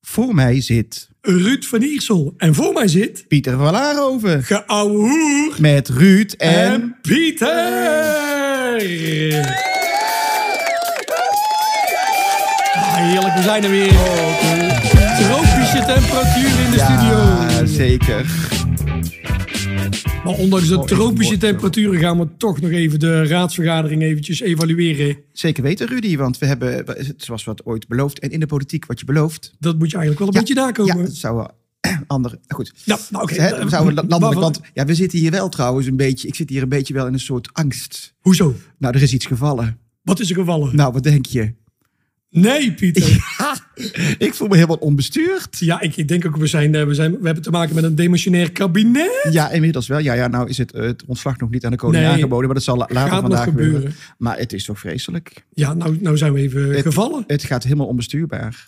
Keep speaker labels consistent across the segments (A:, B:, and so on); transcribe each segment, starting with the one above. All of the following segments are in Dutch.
A: Voor mij zit
B: Ruud van Iersel. En voor mij zit
A: Pieter van Laarhoven.
B: geouwe hoer
A: Met Ruud en...
B: en Pieter. Ah, heerlijk, we zijn er weer. Tropische temperatuur in de
A: Ja,
B: studio.
A: zeker.
B: Maar ondanks de
A: Oh, even
B: tropische
A: kort, joh.
B: temperaturen gaan we toch nog even de raadsvergadering eventjes evalueren.
A: Zeker weten, Rudy. Want we hebben, zoals we het ooit beloofd... en in de politiek wat je belooft...
B: Dat moet je eigenlijk wel een beetje daar
A: Ja,
B: komen.
A: dat zou wel... Ander, goed.
B: Ja, nou, oké.
A: Hè, we zouden
B: Eh,
A: landelijk,
B: waarvan-
A: want ja, we zitten hier wel trouwens een beetje... Ik zit hier een beetje wel in een soort angst.
B: Hoezo?
A: Nou, er is iets gevallen.
B: Wat is er gevallen?
A: Nou, wat denk je?
B: Nee, Pieter.
A: Ik voel me helemaal onbestuurd.
B: Ja, ik, ik denk ook, we, zijn, eh, we, zijn, we hebben te maken met een demissionair kabinet.
A: Ja, inmiddels wel. Ja, ja nou is het, eh, het ontslag nog niet aan de koning
B: Nee,
A: aangeboden. Maar dat zal la- later
B: gaat nog
A: vandaag gebeuren.
B: gebeuren.
A: Maar het is toch vreselijk.
B: Ja, nou, nou zijn we even
A: Het-
B: gevallen.
A: Het gaat helemaal onbestuurbaar.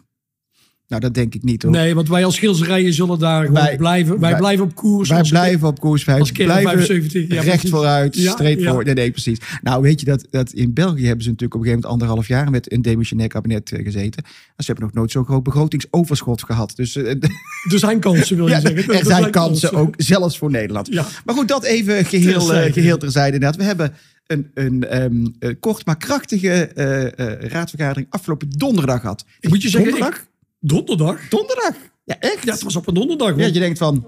A: Nou, dat denk ik niet hoor.
B: Nee, want wij als Schilserijen zullen daar gewoon
A: Wij-
B: blijven. Wij
A: wij-
B: blijven op koers.
A: Wij
B: als-
A: blijven op koers. Wij
B: als kerel
A: blijven
B: 75, ja,
A: recht
B: precies.
A: vooruit,
B: Ja,
A: streep
B: ja.
A: voor. Nee, nee, precies. Nou, weet je dat, dat in België hebben ze natuurlijk op een gegeven moment anderhalf jaar met een demissionair kabinet eh, gezeten. En ze hebben nog nooit zo'n groot begrotingsoverschot gehad. Dus eh,
B: Er zijn kansen, wil je
A: ja,
B: zeggen.
A: er zijn kansen ook, zelfs voor Nederland.
B: Ja.
A: Maar goed, dat even geheel
B: Terzijde.
A: terzijde, geheel terzijde inderdaad. We hebben een, een, ehm, eh, kort maar krachtige eh, eh, raadvergadering afgelopen donderdag gehad.
B: Ik moet je zeggen, ik-
A: Donderdag?
B: Donderdag?
A: Donderdag? Ja, echt?
B: Ja, het was op een donderdag.
A: Ja,
B: want-
A: je denkt van...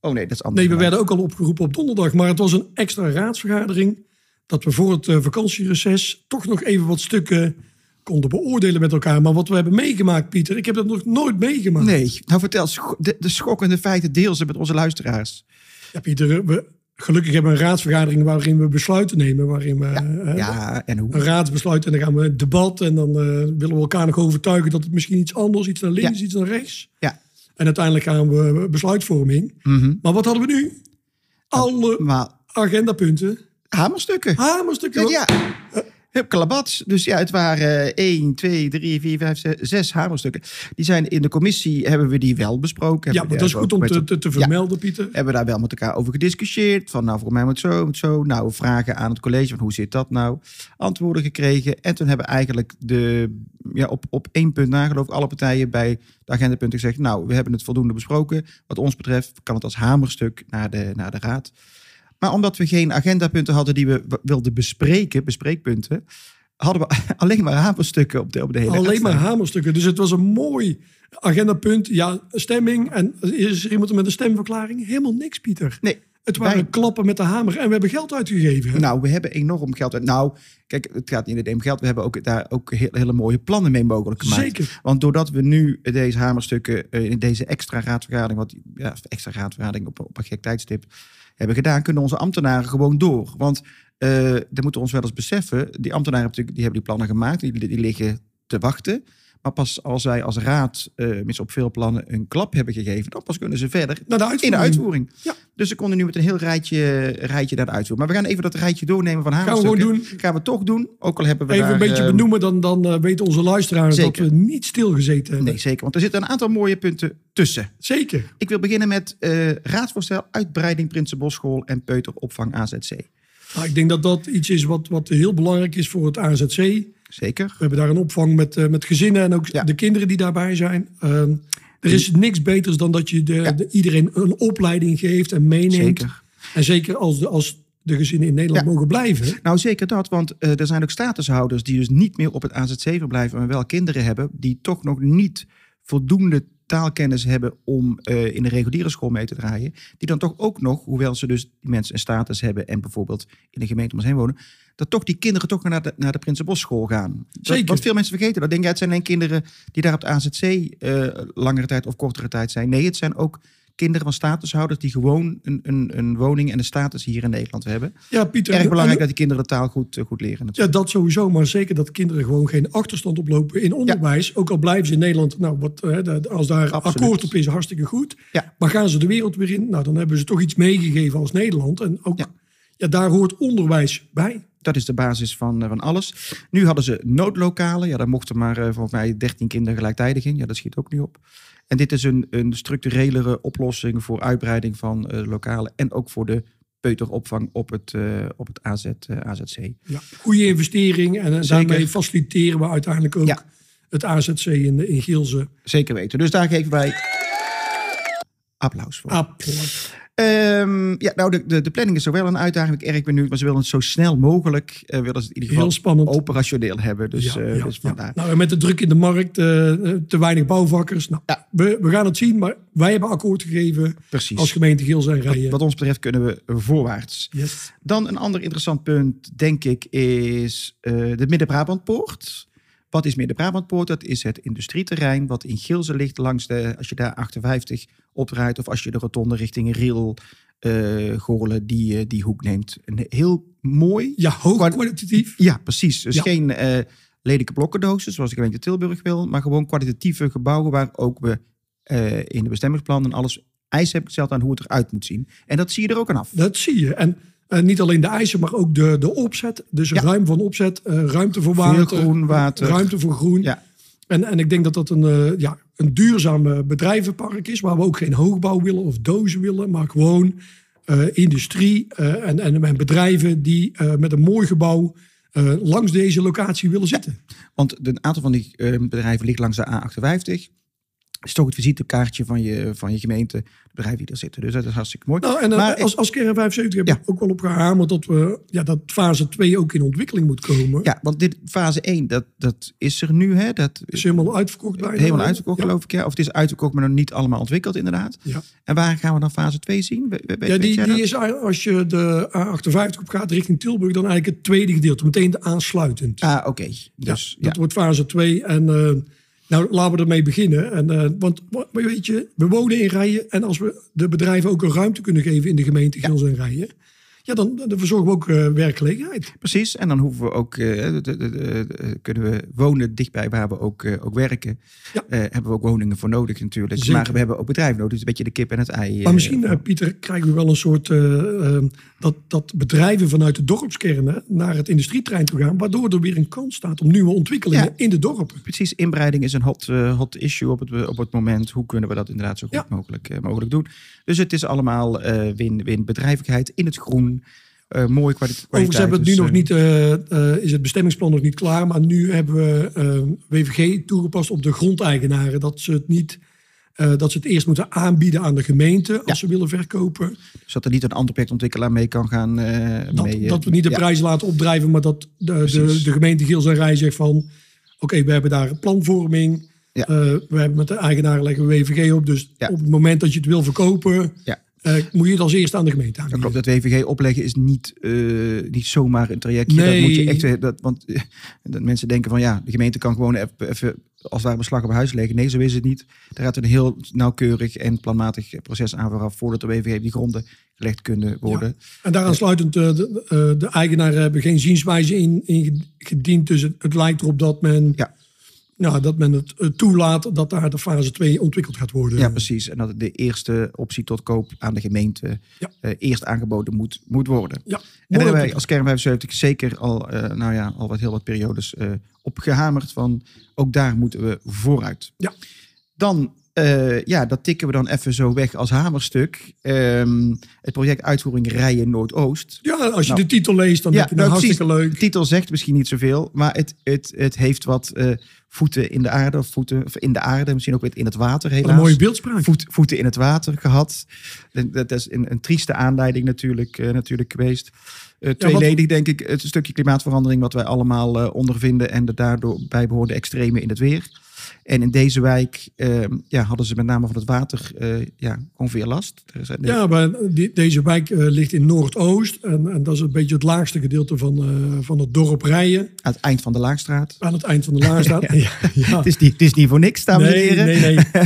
A: Oh nee, dat is anders.
B: Nee, we werden ook al opgeroepen op donderdag. Maar het was een extra raadsvergadering. Dat we voor het eh, vakantiereces toch nog even wat stukken konden beoordelen met elkaar. Maar wat we hebben meegemaakt, Pieter, ik heb dat nog nooit meegemaakt.
A: Nee, nou vertel scho- de, de schokkende feiten deel ze met onze luisteraars.
B: Ja, Pieter, we, gelukkig hebben we een raadsvergadering waarin we besluiten nemen. Waarin we eh,
A: Ja, en
B: een
A: hoe?
B: raadsbesluit en dan gaan we in debat. En dan eh, willen we elkaar nog overtuigen dat het misschien iets anders, iets naar links, iets naar rechts.
A: Ja.
B: En uiteindelijk gaan we besluitvorming.
A: Mhm.
B: Maar wat hadden we nu? Alle
A: Maar
B: agendapunten.
A: hamerstukken.
B: Hamerstukken.
A: Ja, Hup, kalabats. Dus ja, het waren 1, 2, 3, 4, 5, 6, hamerstukken. Die zijn in de commissie, hebben we die wel besproken.
B: Ja,
A: Hebben
B: maar
A: we
B: dat is
A: daar
B: goed
A: ook
B: om te,
A: met-
B: te, te
A: Ja,
B: vermelden, Pieter.
A: hebben we daar wel met elkaar over gediscussieerd. Van nou, voor mij moet zo, moet zo. Nou, vragen aan het college van hoe zit dat nou? Antwoorden gekregen. En toen hebben eigenlijk de, ja, op, op één punt na geloof ik alle partijen bij de agendapunten gezegd. Nou, we hebben het voldoende besproken. Wat ons betreft kan het als hamerstuk naar de, naar de raad. Maar omdat we geen agendapunten hadden die we w- wilden bespreken, bespreekpunten, hadden we alleen maar hamerstukken op de, op de hele
B: Alleen maar
A: uitspraak.
B: hamerstukken. Dus het was een mooi agendapunt. Ja, stemming. En is er iemand met een stemverklaring? Helemaal niks, Pieter.
A: Nee,
B: Het waren
A: Wij-
B: klappen met de hamer. En we hebben geld uitgegeven. hè?
A: Nou, we hebben enorm geld. uit- Nou, kijk, het gaat niet alleen om geld. We hebben ook daar ook heel- hele mooie plannen mee mogelijk gemaakt.
B: Zeker.
A: Want doordat we nu deze hamerstukken eh, in deze extra raadvergadering, wat ja, extra raadvergadering op, op een gek tijdstip hebben gedaan, kunnen onze ambtenaren gewoon door. Want eh dat moeten we ons wel eens beseffen. Die ambtenaren hebben natuurlijk- die hebben die plannen gemaakt, die, die liggen te wachten. Maar pas als wij als raad, eh minstens op veel plannen, een klap hebben gegeven, dan pas kunnen ze verder
B: Naar de
A: in de
B: uitvoering.
A: uitvoering.
B: Ja.
A: Dus ze konden nu met een heel rijtje, rijtje naar de uitvoering. Maar we gaan even dat rijtje doornemen van
B: we
A: hamerstukken.
B: gewoon doen.
A: Gaan we toch doen. Ook al hebben we
B: Even een
A: daar,
B: beetje
A: eh,
B: benoemen, dan, dan eh, weten onze luisteraars
A: Zeker.
B: dat we niet stilgezeten hebben.
A: Nee, zeker. Want er zitten een aantal mooie punten tussen.
B: Zeker.
A: Ik wil beginnen met eh, raadsvoorstel uitbreiding Prinsenbosschool en peuteropvang AZC.
B: Nou, ik denk dat dat iets is wat, wat heel belangrijk is voor het AZC.
A: Zeker.
B: We hebben daar een opvang met, eh, met gezinnen en ook
A: Ja.
B: de kinderen die daarbij zijn. Ehm, er is niks beters dan dat je de, de- iedereen een opleiding geeft en meeneemt.
A: Zeker.
B: En zeker als de, als de gezinnen in Nederland
A: Ja.
B: mogen blijven.
A: Nou, zeker dat, want eh, er zijn ook statushouders die dus niet meer op het AZC verblijven, maar wel kinderen hebben die toch nog niet voldoende taalkennis hebben om eh, in de reguliere school mee te draaien. Die dan toch ook nog, hoewel ze dus die mensen een status hebben en bijvoorbeeld in de gemeente om ons heen wonen, dat toch die kinderen toch naar de, naar de Prinsenbosschool gaan. Dat-
B: Zeker.
A: want veel mensen vergeten dat. Denk jij, het zijn alleen kinderen die daar op de AZC eh, langere tijd of kortere tijd zijn. Nee, het zijn ook kinderen van statushouders die gewoon een, een, een woning en een status hier in Nederland hebben
B: Ja, Pieter.
A: erg
B: en-
A: belangrijk dat die kinderen de taal goed, eh, goed leren.
B: Ja, dat sowieso. Maar zeker dat kinderen gewoon geen achterstand oplopen in onderwijs. Ook al blijven ze in Nederland. Nou, wat, eh, da- als daar
A: Absoluut.
B: akkoord op is, hartstikke goed.
A: Ja.
B: Maar gaan ze de wereld weer in? Nou, dan hebben ze toch iets meegegeven als Nederland. En ook ja.
A: Ja.
B: daar hoort onderwijs bij.
A: Dat is de basis van, eh, van alles. Nu hadden ze noodlokalen. Ja, daar mochten maar eh, volgens mij 13 kinderen gelijktijdig in. Ja, dat schiet ook niet op. En dit is een, een structurelere oplossing voor uitbreiding van eh, lokalen. En ook voor de peuteropvang op het, eh, op het AZ, eh, AZC.
B: Ja. Goede investering. En eh,
A: Zeker.
B: daarmee faciliteren we uiteindelijk ook
A: Ja.
B: het AZC in, in Gielsen.
A: Zeker weten. Dus daar geven wij applaus voor.
B: Ah, Applaus.
A: Ehm, ja, nou, de, de, de planning is zowel een uitdaging. Ik ben erg benieuwd, maar ze willen het zo snel mogelijk. eh, willen ze het in ieder
B: Heel
A: geval
B: spannend.
A: operationeel hebben. Dus,
B: Ja,
A: eh,
B: ja,
A: dus
B: ja.
A: vandaar.
B: Nou, en met de druk in de markt, eh, eh, te weinig bouwvakkers. Nou,
A: Ja.
B: we, we gaan het zien, maar wij hebben akkoord gegeven
A: Precies.
B: als gemeente Gielsen en Rijen.
A: Wat ons betreft kunnen we voorwaarts.
B: Yes.
A: Dan een ander interessant punt, denk ik, is eh, de Midden-Brabantpoort. Wat is Midden-Brabantpoort? Dat is het industrieterrein wat in Gilze ligt langs de, als je daar 58 opdraait of als je de rotonde richting Riel, eh Goorlen, die, eh, die hoek neemt. Een heel mooi.
B: Ja, hoog kwalitatief.
A: Ja, precies. Dus
B: Ja.
A: geen eh, lelijke blokkendozen zoals de gemeente Tilburg wil, maar gewoon kwalitatieve gebouwen waar ook we eh, in de bestemmingsplannen en alles eis hebben gesteld aan hoe het eruit moet zien. En dat zie je er ook aan af.
B: Dat zie je. En eh, niet alleen de eisen, maar ook de, de opzet. Dus
A: Ja.
B: ruim van opzet, eh, ruimte voor
A: Veel
B: water.
A: groen water.
B: Ruimte voor groen.
A: Ja.
B: En, en ik denk dat dat een, eh, ja, een duurzaam eh, bedrijvenpark is. Waar we ook geen hoogbouw willen of dozen willen. Maar gewoon eh, industrie eh, en, en, en bedrijven die eh, met een mooi gebouw eh, langs deze locatie willen zitten.
A: Want de- een aantal van die eh, bedrijven ligt langs de A58. Is toch het visitekaartje van je, van je gemeente, de bedrijven die er zitten. Dus dat is hartstikke mooi.
B: Nou, en eh,
A: Maar ik-
B: als, als Kern 75 heb ik
A: Ja.
B: ook wel op gehamerd dat, we, ja, dat fase 2 ook in ontwikkeling moet komen.
A: Ja, want dit fase 1, dat, dat is er nu. Hè? Dat
B: Is
A: is
B: helemaal uitverkocht bijna.
A: helemaal uitverkocht,
B: Ja.
A: geloof ik. Ja. Of het is uitverkocht, maar nog niet allemaal ontwikkeld, inderdaad.
B: Ja.
A: En waar gaan we dan fase 2 zien? We- we-
B: Ja,
A: weet
B: die,
A: jij
B: die
A: dat?
B: is eigenlijk, als je de A58 op gaat richting Tilburg, dan eigenlijk het tweede gedeelte, meteen de aansluitend.
A: Ah, oké.
B: Ja,
A: Dus, ja.
B: dat wordt fase 2. En eh, nou, laten we ermee beginnen. En, eh, want wa- maar weet je, we wonen in Rijen. En als we de bedrijven ook een ruimte kunnen geven in de gemeente Gils en Rijen, ja, dan, dan verzorgen we ook eh, werkgelegenheid.
A: Precies, en dan hoeven we ook, eh, de- de- de- de- de- kunnen we wonen dichtbij waar we ook, eh, ook werken.
B: Ja.
A: Eh, hebben we ook woningen voor nodig natuurlijk.
B: Zeker.
A: Maar we hebben ook bedrijven nodig, dus een beetje de kip en het ei. eh,
B: Maar misschien, eh, Pieter, krijgen we wel een soort eh, eh, dat, dat bedrijven vanuit de dorpskernen naar het industrietrein toe gaan, waardoor er weer een kans staat om nieuwe ontwikkelingen
A: Ja.
B: in de dorpen.
A: Precies, inbreiding is een hot, eh, hot issue op het, op het moment. Hoe kunnen we dat inderdaad zo goed
B: Ja.
A: mogelijk, eh, mogelijk doen? Dus het is allemaal eh, win-win bedrijvigheid in het groen. eh mooie kwaliteit.
B: Overigens Oh, hebben we het nu
A: Dus,
B: nog
A: eh,
B: niet, eh, eh, is het bestemmingsplan nog niet klaar. Maar nu hebben we eh, WVG toegepast op de grondeigenaren. Dat ze het niet. eh, dat ze het eerst moeten aanbieden aan de gemeente als ze willen verkopen.
A: Zodat er niet een ander projectontwikkelaar mee kan gaan. eh,
B: Dat,
A: mee, eh,
B: dat we niet de
A: ja.
B: prijs laten opdrijven, maar dat de, de,
A: Precies.
B: de gemeente Gils en Rij zegt van... oké, we hebben daar een planvorming.
A: Ja.
B: Eh, we hebben met de eigenaren leggen we WVG op. Dus
A: Ja.
B: op het moment dat je het wil verkopen,
A: Ja.
B: eh, moet je het als eerste aan de gemeente
A: Dat
B: aanbieden.
A: klopt, dat WVG opleggen is niet, eh, niet zomaar een trajectje. Dat moet je
B: Nee.
A: echt, dat, want eh, dat mensen denken van ja, de gemeente kan gewoon even, even als het ware beslag op huis leggen. Nee, zo is het niet. Daar gaat een heel nauwkeurig en planmatig proces aan vooraf voordat de WVG die gronden gelegd kunnen worden.
B: En daaraan sluitend, eh, de, eh, de eigenaren hebben geen zienswijze in, in gediend. Dus het, het lijkt erop dat men,
A: Ja.
B: nou, dat men het eh, toelaat dat daar de fase 2 ontwikkeld gaat worden.
A: Ja, precies. En dat de eerste optie tot koop aan de gemeente
B: Ja.
A: eh, eerst aangeboden moet, moet worden.
B: Ja,
A: En daar
B: mooi
A: hebben wij
B: ontwikkeld.
A: als Kern 75 zeker al, eh, nou ja, al wat heel wat periodes eh, op gehamerd van ook daar moeten we vooruit.
B: Ja.
A: Dan, eh, ja, dat tikken we dan even zo weg als hamerstuk. Ehm, het project uitvoering Rijen Noordoost.
B: ja, als je
A: Nou.
B: de titel leest, dan
A: Ja,
B: denk je nou,
A: nou, precies.
B: hartstikke
A: De
B: leuk.
A: titel zegt misschien niet zoveel, maar het, het, het heeft wat eh, voeten in de aarde. Of voeten of in de aarde, misschien ook weer in het water
B: Wat
A: helaas.
B: een mooie beeldspraak.
A: Voet, voeten in het water gehad. En Dat is een, een trieste aanleiding natuurlijk, eh, natuurlijk geweest. Eh tweeledig denk ik, het stukje klimaatverandering wat wij allemaal eh, ondervinden en de daardoor bijbehorende extreme in het weer. En in deze wijk eh, ja, hadden ze met name van het water eh, ja, gewoon veel last. Er zijn de-
B: Ja, maar die- deze wijk eh, ligt in Noordoost. En, en dat is een beetje het laagste gedeelte van, eh, van het dorp Rijen.
A: Aan het eind van de Laagstraat.
B: Aan het eind van de Laarstraat. ja, ja.
A: Het, is niet, het is niet voor niks, dames en
B: Nee,
A: heren.
B: nee,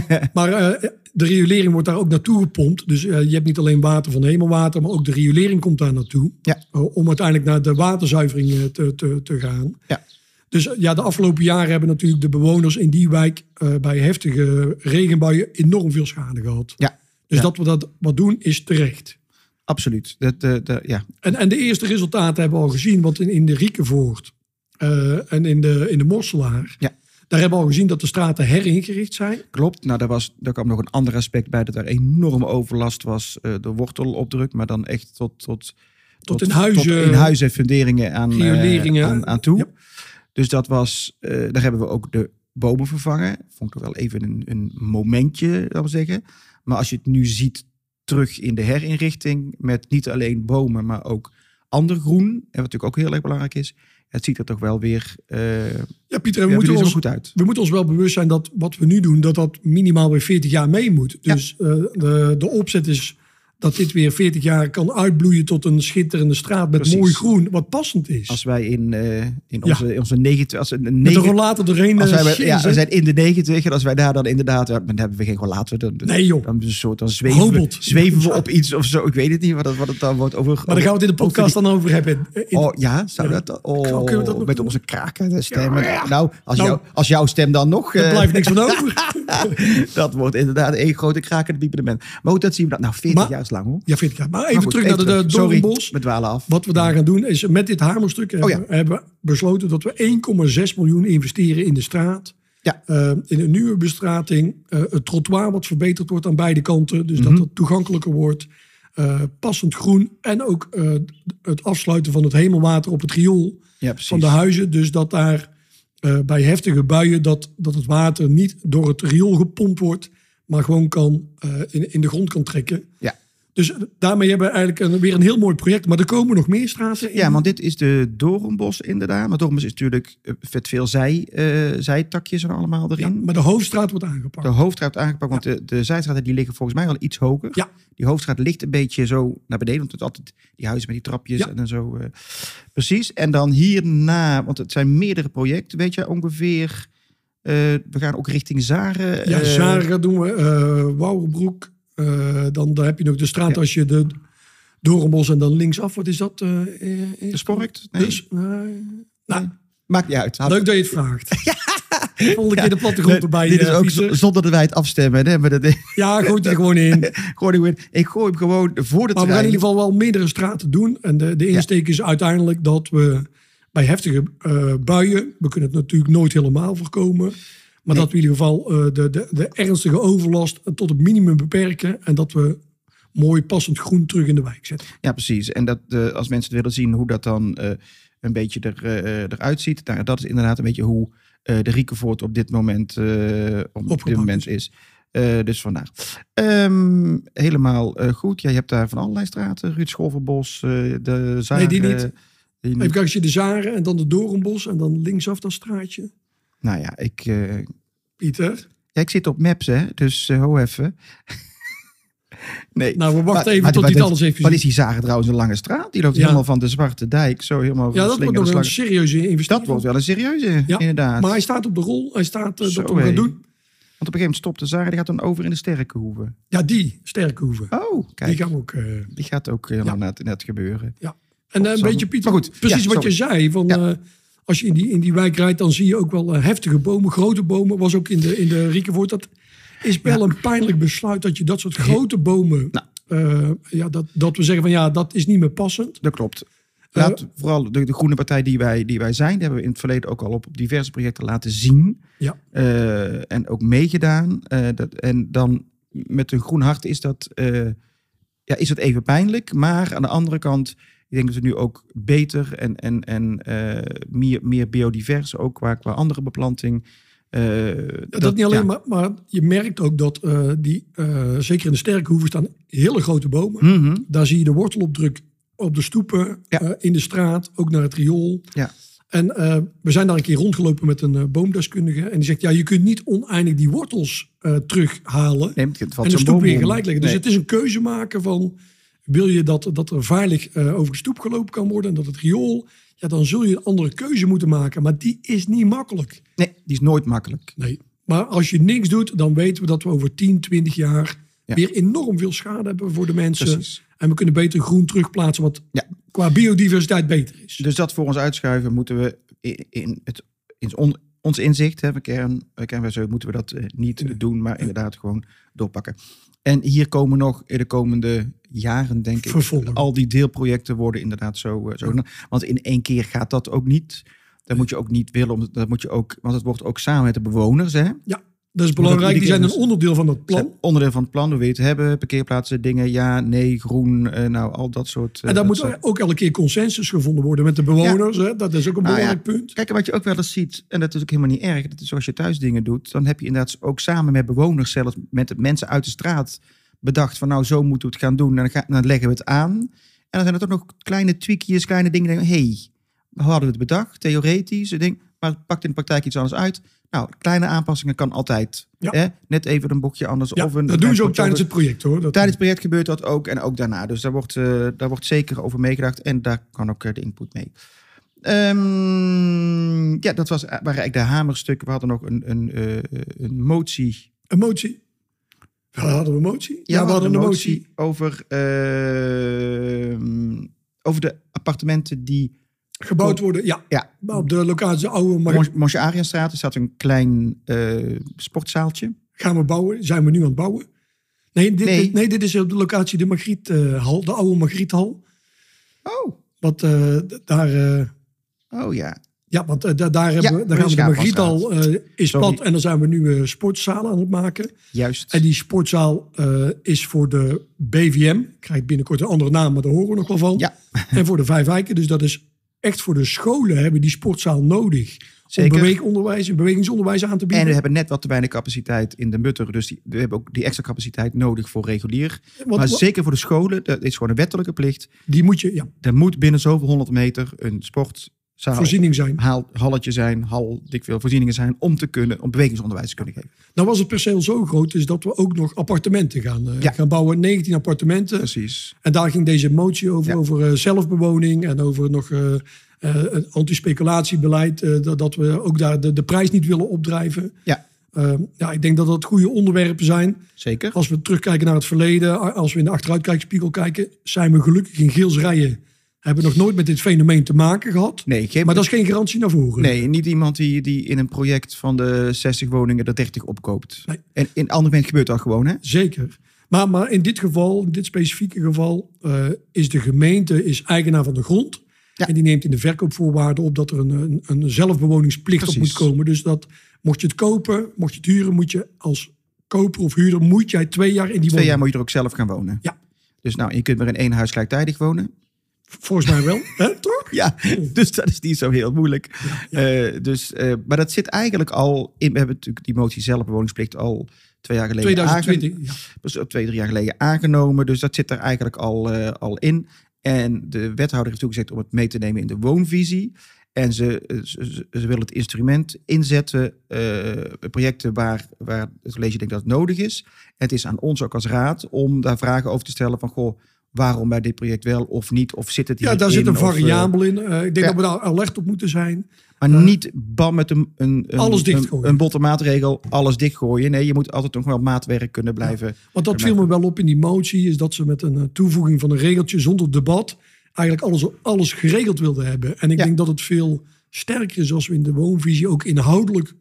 B: nee. Maar eh, de riolering wordt daar ook naartoe gepompt. Dus eh, je hebt niet alleen water van hemelwater, maar ook de riolering komt daar naartoe.
A: Ja.
B: Eh, om uiteindelijk naar de waterzuivering eh, te, te, te gaan.
A: Ja.
B: Dus eh, ja, de afgelopen jaren hebben natuurlijk de bewoners in die wijk eh, bij heftige regenbuien enorm veel schade gehad.
A: Ja,
B: Dus
A: Ja.
B: dat we dat wat doen is terecht.
A: absoluut. Dat, eh, dat- ja.
B: En, en de eerste resultaten hebben we al gezien, want in, in de Riekenvoort eh, en in de, in de Morselaar,
A: Ja.
B: daar hebben we al gezien dat de straten heringericht zijn.
A: Klopt. Nou, daar, was, daar kwam nog een ander aspect bij dat er enorme overlast was eh door wortelopdruk, maar dan echt tot, tot,
B: Tot in huizen.
A: tot in huizen en funderingen aan, eh,
B: Rioleringen.
A: aan, aan toe.
B: Ja.
A: Dus dat was, eh, daar hebben we ook de bomen vervangen. Vond ik toch wel even een, een momentje, laten we zeggen. Maar als je het nu ziet terug in de herinrichting met niet alleen bomen, maar ook ander groen. En wat natuurlijk ook heel erg belangrijk is. Het ziet er toch wel weer, eh,
B: Ja, Pieter, en we,
A: ja,
B: moeten
A: weer zo
B: ons,
A: goed uit.
B: we moeten ons wel bewust zijn dat wat we nu doen, dat dat minimaal weer 40 jaar mee moet.
A: Ja.
B: Dus eh, de, de opzet is dat dit weer 40 jaar kan uitbloeien tot een schitterende straat met
A: Precies.
B: mooi groen, wat passend is.
A: Als wij in, eh, in onze, in onze negen- als een
B: met de
A: negen,
B: rollator doorheen.
A: als
B: eh,
A: wij, bij- ja,
B: schieten.
A: we zijn in de negentig en als wij daar dan inderdaad, ja, dan hebben we geen laten dan, dan,
B: nee joh,
A: dan, is het een soort, dan zweven, we,
B: Robot.
A: zweven we op iets of zo. Ik weet het niet wat, het- wat het dan wordt over.
B: maar daar gaan we het in de podcast dan over hebben. Eh, in-
A: Oh ja, zou
B: Ja.
A: dat? Oh,
B: Kunnen we dat nog
A: met
B: doen?
A: onze krakende stemmen.
B: Ja.
A: Nou, als,
B: Nou.
A: jouw- als jouw stem dan nog.
B: Er
A: eh,
B: blijft niks van over.
A: dat wordt inderdaad één grote krakende piepende man. Maar goed, dat zien we dan. Nou, 40
B: Maar-
A: jaar is lang hoor. Maar
B: Ja, 40 jaar. Maar even
A: goed,
B: terug naar de, de
A: Sorry,
B: Doornbos.
A: we dwalen af.
B: Wat we daar gaan doen is met dit hamerstuk hebben,
A: Oh
B: hebben we besloten dat we 1,6 miljoen investeren in de straat.
A: Ja.
B: Eh, in een nieuwe bestrating. eh, het trottoir wat verbeterd wordt aan beide kanten. Dus
A: Mhm.
B: dat het toegankelijker wordt. eh, passend groen. En ook eh, het afsluiten van het hemelwater op het riool
A: Ja, precies.
B: van de huizen. Dus dat daar eh, bij heftige buien dat, dat het water niet door het riool gepompt wordt. Maar gewoon kan, eh, in, in de grond kan trekken.
A: Ja.
B: Dus daarmee hebben we eigenlijk een- weer een heel mooi project. Maar er komen nog meer straten in.
A: Ja, want dit is de Doornbos inderdaad. Maar Doornbos is natuurlijk eh, vet veel zij, eh, zijtakjes en allemaal
B: Ja,
A: erin.
B: maar de hoofdstraat wordt aangepakt.
A: De hoofdstraat aangepakt, want de, de zijstraten die liggen volgens mij wel iets hoger.
B: Ja.
A: Die hoofdstraat ligt een beetje zo naar beneden, want het is altijd die huizen met die trapjes
B: Ja.
A: en dan zo. eh, precies. En dan hierna, want het zijn meerdere projecten, weet je ongeveer. eh, we gaan ook richting Zaren.
B: Ja,
A: eh,
B: Zaren doen we, eh Wouwenbroek. eh, dan, dan heb je nog de straat
A: Ja.
B: als je de Dorenbos en dan linksaf. Wat is dat? eh, eh, eh,
A: De Sporkt? Nee.
B: Dus, eh, nou,
A: Maakt niet uit.
B: leuk dat je het vraagt. De Volgende keer de plattegrond erbij.
A: dit is
B: eh,
A: ook
B: Pieter.
A: z- zonder dat wij het afstemmen. Hè? Maar dat,
B: Ja, gooi het er gewoon in.
A: gooi hem in. ik gooi hem gewoon voor de
B: Maar we gaan in
A: trein.
B: ieder geval wel meerdere straten doen. En de, de insteek is uiteindelijk dat we bij heftige eh, buien, we kunnen het natuurlijk nooit helemaal voorkomen, maar dat we in ieder geval eh, de, de, de ernstige overlast tot het minimum beperken en dat we mooi passend groen terug in de wijk zetten.
A: Ja, precies. En dat, eh, als mensen het willen zien hoe dat dan eh, een beetje er, eh, eruit ziet. Nou, dat is inderdaad een beetje hoe eh, de Riekenvoort op dit moment, eh, op dit
B: Opgebouwd
A: moment is. Eh, dus vandaar. Ehm, helemaal eh, goed. Ja, je hebt daar van allerlei straten. Ruud Schorverbos, eh, de Zaag.
B: die niet.
A: die niet.
B: Even kijken, als je de Zaren en dan de Dorenbos en dan linksaf dat straatje.
A: Nou ja ik, eh,
B: Pieter,
A: ja, ik zit op maps, hè. Dus eh, ho even. nee.
B: nou we wachten
A: Maar-
B: even
A: maar-
B: tot
A: maar
B: hij het
A: dat-
B: alles heeft
A: Wat
B: gezien.
A: is die zagen trouwens een lange straat? Die loopt
B: Ja.
A: helemaal van de Zwarte Dijk. Zo helemaal
B: Ja, dat wordt
A: slingerende
B: nog een
A: slag-
B: serieuze
A: Dus Dat
B: investering.
A: wordt wel een serieuze,
B: Ja,
A: inderdaad.
B: Maar hij staat op de rol, hij staat eh,
A: Zo,
B: dat we hem
A: hé.
B: gaan doen.
A: Want op een gegeven moment stopt de zaag en die gaat dan over in de Sterkenhoeve.
B: Ja, die, Sterkhoeven.
A: Oh, kijk.
B: Die
A: Die,
B: gaan we ook... eh,
A: gaat ook helemaal net, net gebeuren.
B: En eh, een
A: Zal-
B: beetje Pieter,
A: Maar goed,
B: precies
A: ja,
B: wat je zei. Van, eh, als je in die, in die wijk rijdt, dan zie je ook wel eh, heftige bomen, grote bomen. Was ook in de, in de Riekenvoort. Dat is wel een pijnlijk besluit dat je dat soort grote bomen.
A: Nou.
B: eh, ja, dat, dat we zeggen van ja, dat Eh, is niet meer passend.
A: Dat klopt. Laat vooral de, de groene partij die wij, die wij zijn, die hebben we in het verleden ook al op, op diverse projecten laten zien.
B: Ja.
A: Eh, en ook meegedaan. Eh, dat, en dan met een groen hart is dat, eh, ja, is dat even pijnlijk. Maar aan de andere kant, ik denk dat we nu ook beter en, en, en eh, meer, meer biodivers, ook qua, qua andere beplanting. eh,
B: Dat, niet alleen,
A: ja.
B: maar, maar je merkt ook dat eh, die, eh, zeker in de Sterkhoeven staan hele grote bomen.
A: Mhm.
B: Daar zie je de wortelopdruk op de stoepen,
A: Ja.
B: eh, in de straat, ook naar het riool.
A: Ja.
B: En eh, we zijn daar een keer rondgelopen met een eh, boomdeskundige. En die zegt, ja, je kunt niet oneindig die wortels eh, terughalen.
A: Nee, want het valt
B: en de
A: zo'n
B: stoep
A: boom
B: weer
A: om.
B: gelijk leggen. Dus
A: Nee.
B: het is een keuze maken van... wil je dat, dat er veilig eh, over de stoep gelopen kan worden... en dat het riool... ja, dan zul je een andere keuze moeten maken. Maar die is niet makkelijk.
A: Nee, die is nooit makkelijk.
B: Nee. Maar als je niks doet, dan weten we dat we over 10, 20 jaar...
A: Ja.
B: weer enorm veel schade hebben voor de mensen.
A: Precies.
B: En we kunnen beter groen terugplaatsen... wat
A: Ja.
B: qua biodiversiteit beter is.
A: Dus dat voor ons uitschuiven moeten we in, in het, in on- ons inzicht, hè, van kern, eh, kernwijs zo, moeten we dat eh, niet doen, maar inderdaad gewoon doorpakken. En hier komen nog in de komende jaren, denk ik,
B: Vervolgen.
A: al die deelprojecten worden inderdaad zo. eh, zo gedaan. Want in één keer gaat dat ook niet. Dat moet je ook niet willen, omdat- dat moet je ook, want het wordt ook samen met de bewoners. Hè?
B: Ja. Dat is belangrijk. Die zijn een onderdeel van dat plan.
A: Onderdeel van het plan, hoe wil je het hebben? Parkeerplaatsen, dingen, ja, nee, groen, eh, nou, al dat soort... eh,
B: En daar
A: dat
B: moet
A: soort-
B: ook elke keer consensus gevonden worden met de bewoners. Hè? Dat is ook een
A: Nou ja.
B: belangrijk punt.
A: Kijk, en wat je ook wel eens ziet, en dat is ook helemaal niet erg, dat is als je thuis dingen doet, dan heb je inderdaad ook samen met bewoners, zelfs met de mensen uit de straat, bedacht van nou, zo moeten we het gaan doen. En dan, ga- dan leggen we het aan. En dan zijn er toch nog kleine tweakjes, kleine dingen. Hé, hey, we hadden het bedacht, theoretisch, ik denk, maar het pakt in de praktijk iets anders uit. Nou, kleine aanpassingen kan altijd.
B: Ja.
A: Hè? Net even een bochtje anders.
B: Ja,
A: of een,
B: dat doen ze ook tijdens het project hoor. Dat-
A: Tijdens het project gebeurt dat ook en ook daarna. Dus daar wordt, eh, daar wordt zeker over meegedacht en daar kan ook eh, de input mee. Ehm, ja, dat was, waren eigenlijk de hamerstukken. We hadden nog een, een, eh, een motie.
B: Een motie. Ja, hadden we een motie? Ja, we hadden een motie.
A: over, ehm, over de appartementen die...
B: Gebouwd worden, ja.
A: Ja,
B: Op de locatie oude, maar
A: Mons- Monsje Arianstraat, er staat een klein eh, sportzaaltje.
B: gaan we bouwen? Zijn we nu aan het bouwen? Nee, dit,
A: Nee.
B: dit- nee, dit is op de locatie de Margriethal, de oude Margriethal.
A: Oh,
B: Want eh, d- daar, eh,
A: oh ja.
B: ja, want, eh, da- daar, hebben we, daar gaan we de
A: Schaapmanstraat.
B: Margriethal eh, is
A: Sorry.
B: plat en dan zijn we nu eh sportzalen aan het maken.
A: Juist.
B: En die sportzaal eh, is voor de BVM. Krijgt binnenkort een andere naam, maar daar horen we nog wel van.
A: Ja.
B: En voor de Vijf Wijken. Dus dat is echt voor de scholen hebben die sportzaal nodig.
A: Zeker.
B: Om beweegonderwijs en bewegingsonderwijs aan te
A: En
B: bieden.
A: we hebben net wat te weinig capaciteit in de mutter. Dus die, we hebben ook die extra capaciteit nodig voor regulier.
B: Want-
A: eh, maar zeker voor de scholen, dat is gewoon een wettelijke plicht.
B: die moet je ja,
A: Er moet binnen zoveel honderd meter een sportzaal,
B: voorziening zijn.
A: haal, halletje zijn, hal, dik veel voorzieningen zijn... om te kunnen, om bewegingsonderwijs te kunnen geven.
B: Nou was het perceel zo groot is dat we ook nog appartementen gaan, eh,
A: Ja.
B: gaan bouwen. 19 appartementen.
A: Precies.
B: En daar ging deze motie over,
A: Ja.
B: over eh, zelfbewoning en over nog eh eh, een antispeculatiebeleid. eh, dat, dat we ook daar de, de prijs niet willen opdrijven.
A: Ja,
B: Eh, ja, ik denk dat dat goede onderwerpen zijn.
A: zeker.
B: Als we terugkijken naar het verleden, a- als we in de achteruitkijkspiegel kijken, zijn we gelukkig in Geels rijen. Hebben nog nooit met dit fenomeen te maken gehad.
A: Nee, geen,
B: Maar dat is geen garantie naar voren.
A: nee niet iemand die, die in een project van de 60 woningen er 30 opkoopt.
B: Nee.
A: En in ander moment gebeurt dat gewoon, hè?
B: Zeker. Maar, maar in dit geval, in dit specifieke geval, eh, is de gemeente is eigenaar van de grond.
A: Ja.
B: En die neemt in de verkoopvoorwaarden op dat er een, een, een zelfbewoningsplicht op
A: Precies.
B: moet komen. Dus dat mocht je het kopen, mocht je het huren, moet je als koper of huurder, moet jij twee jaar in die
A: Twee
B: woning.
A: jaar moet je er ook zelf gaan wonen.
B: Ja.
A: Dus nou, je kunt maar in één huis gelijktijdig wonen.
B: Volgens mij wel, hè, toch?
A: Ja, dus dat is niet zo heel moeilijk. Eh, dus, eh, maar dat zit eigenlijk al in. We hebben natuurlijk die motie zelf bewoningsplicht al twee jaar geleden.
B: 2020. ja.
A: aange- dus op twee, drie jaar geleden aangenomen. Dus dat zit er eigenlijk al, eh, al in. En de wethouder heeft toegezegd om het mee te nemen in de woonvisie. En ze, eh, ze, ze- ze wil het instrument inzetten, eh, projecten waar, waar het college denkt dat het nodig is. Het is aan ons ook als raad om daar vragen over te stellen van goh, waarom bij dit project wel of niet? Of eh, zit het hier
B: Ja, daar zit een variabel in. Eh, ik denk
A: Ja.
B: dat we daar alert op moeten zijn.
A: Maar niet bam met een, een, een,
B: Alles
A: een,
B: dichtgooien.
A: een botte maatregel, alles dichtgooien. Nee, je moet altijd nog wel maatwerk kunnen blijven.
B: Want dat
A: Ja,
B: viel me wel op in die motie, is dat ze met een eh, toevoeging van een regeltje zonder debat eigenlijk alles, alles geregeld wilden hebben. En ik
A: Ja.
B: denk dat het veel sterker is als we in de woonvisie ook inhoudelijk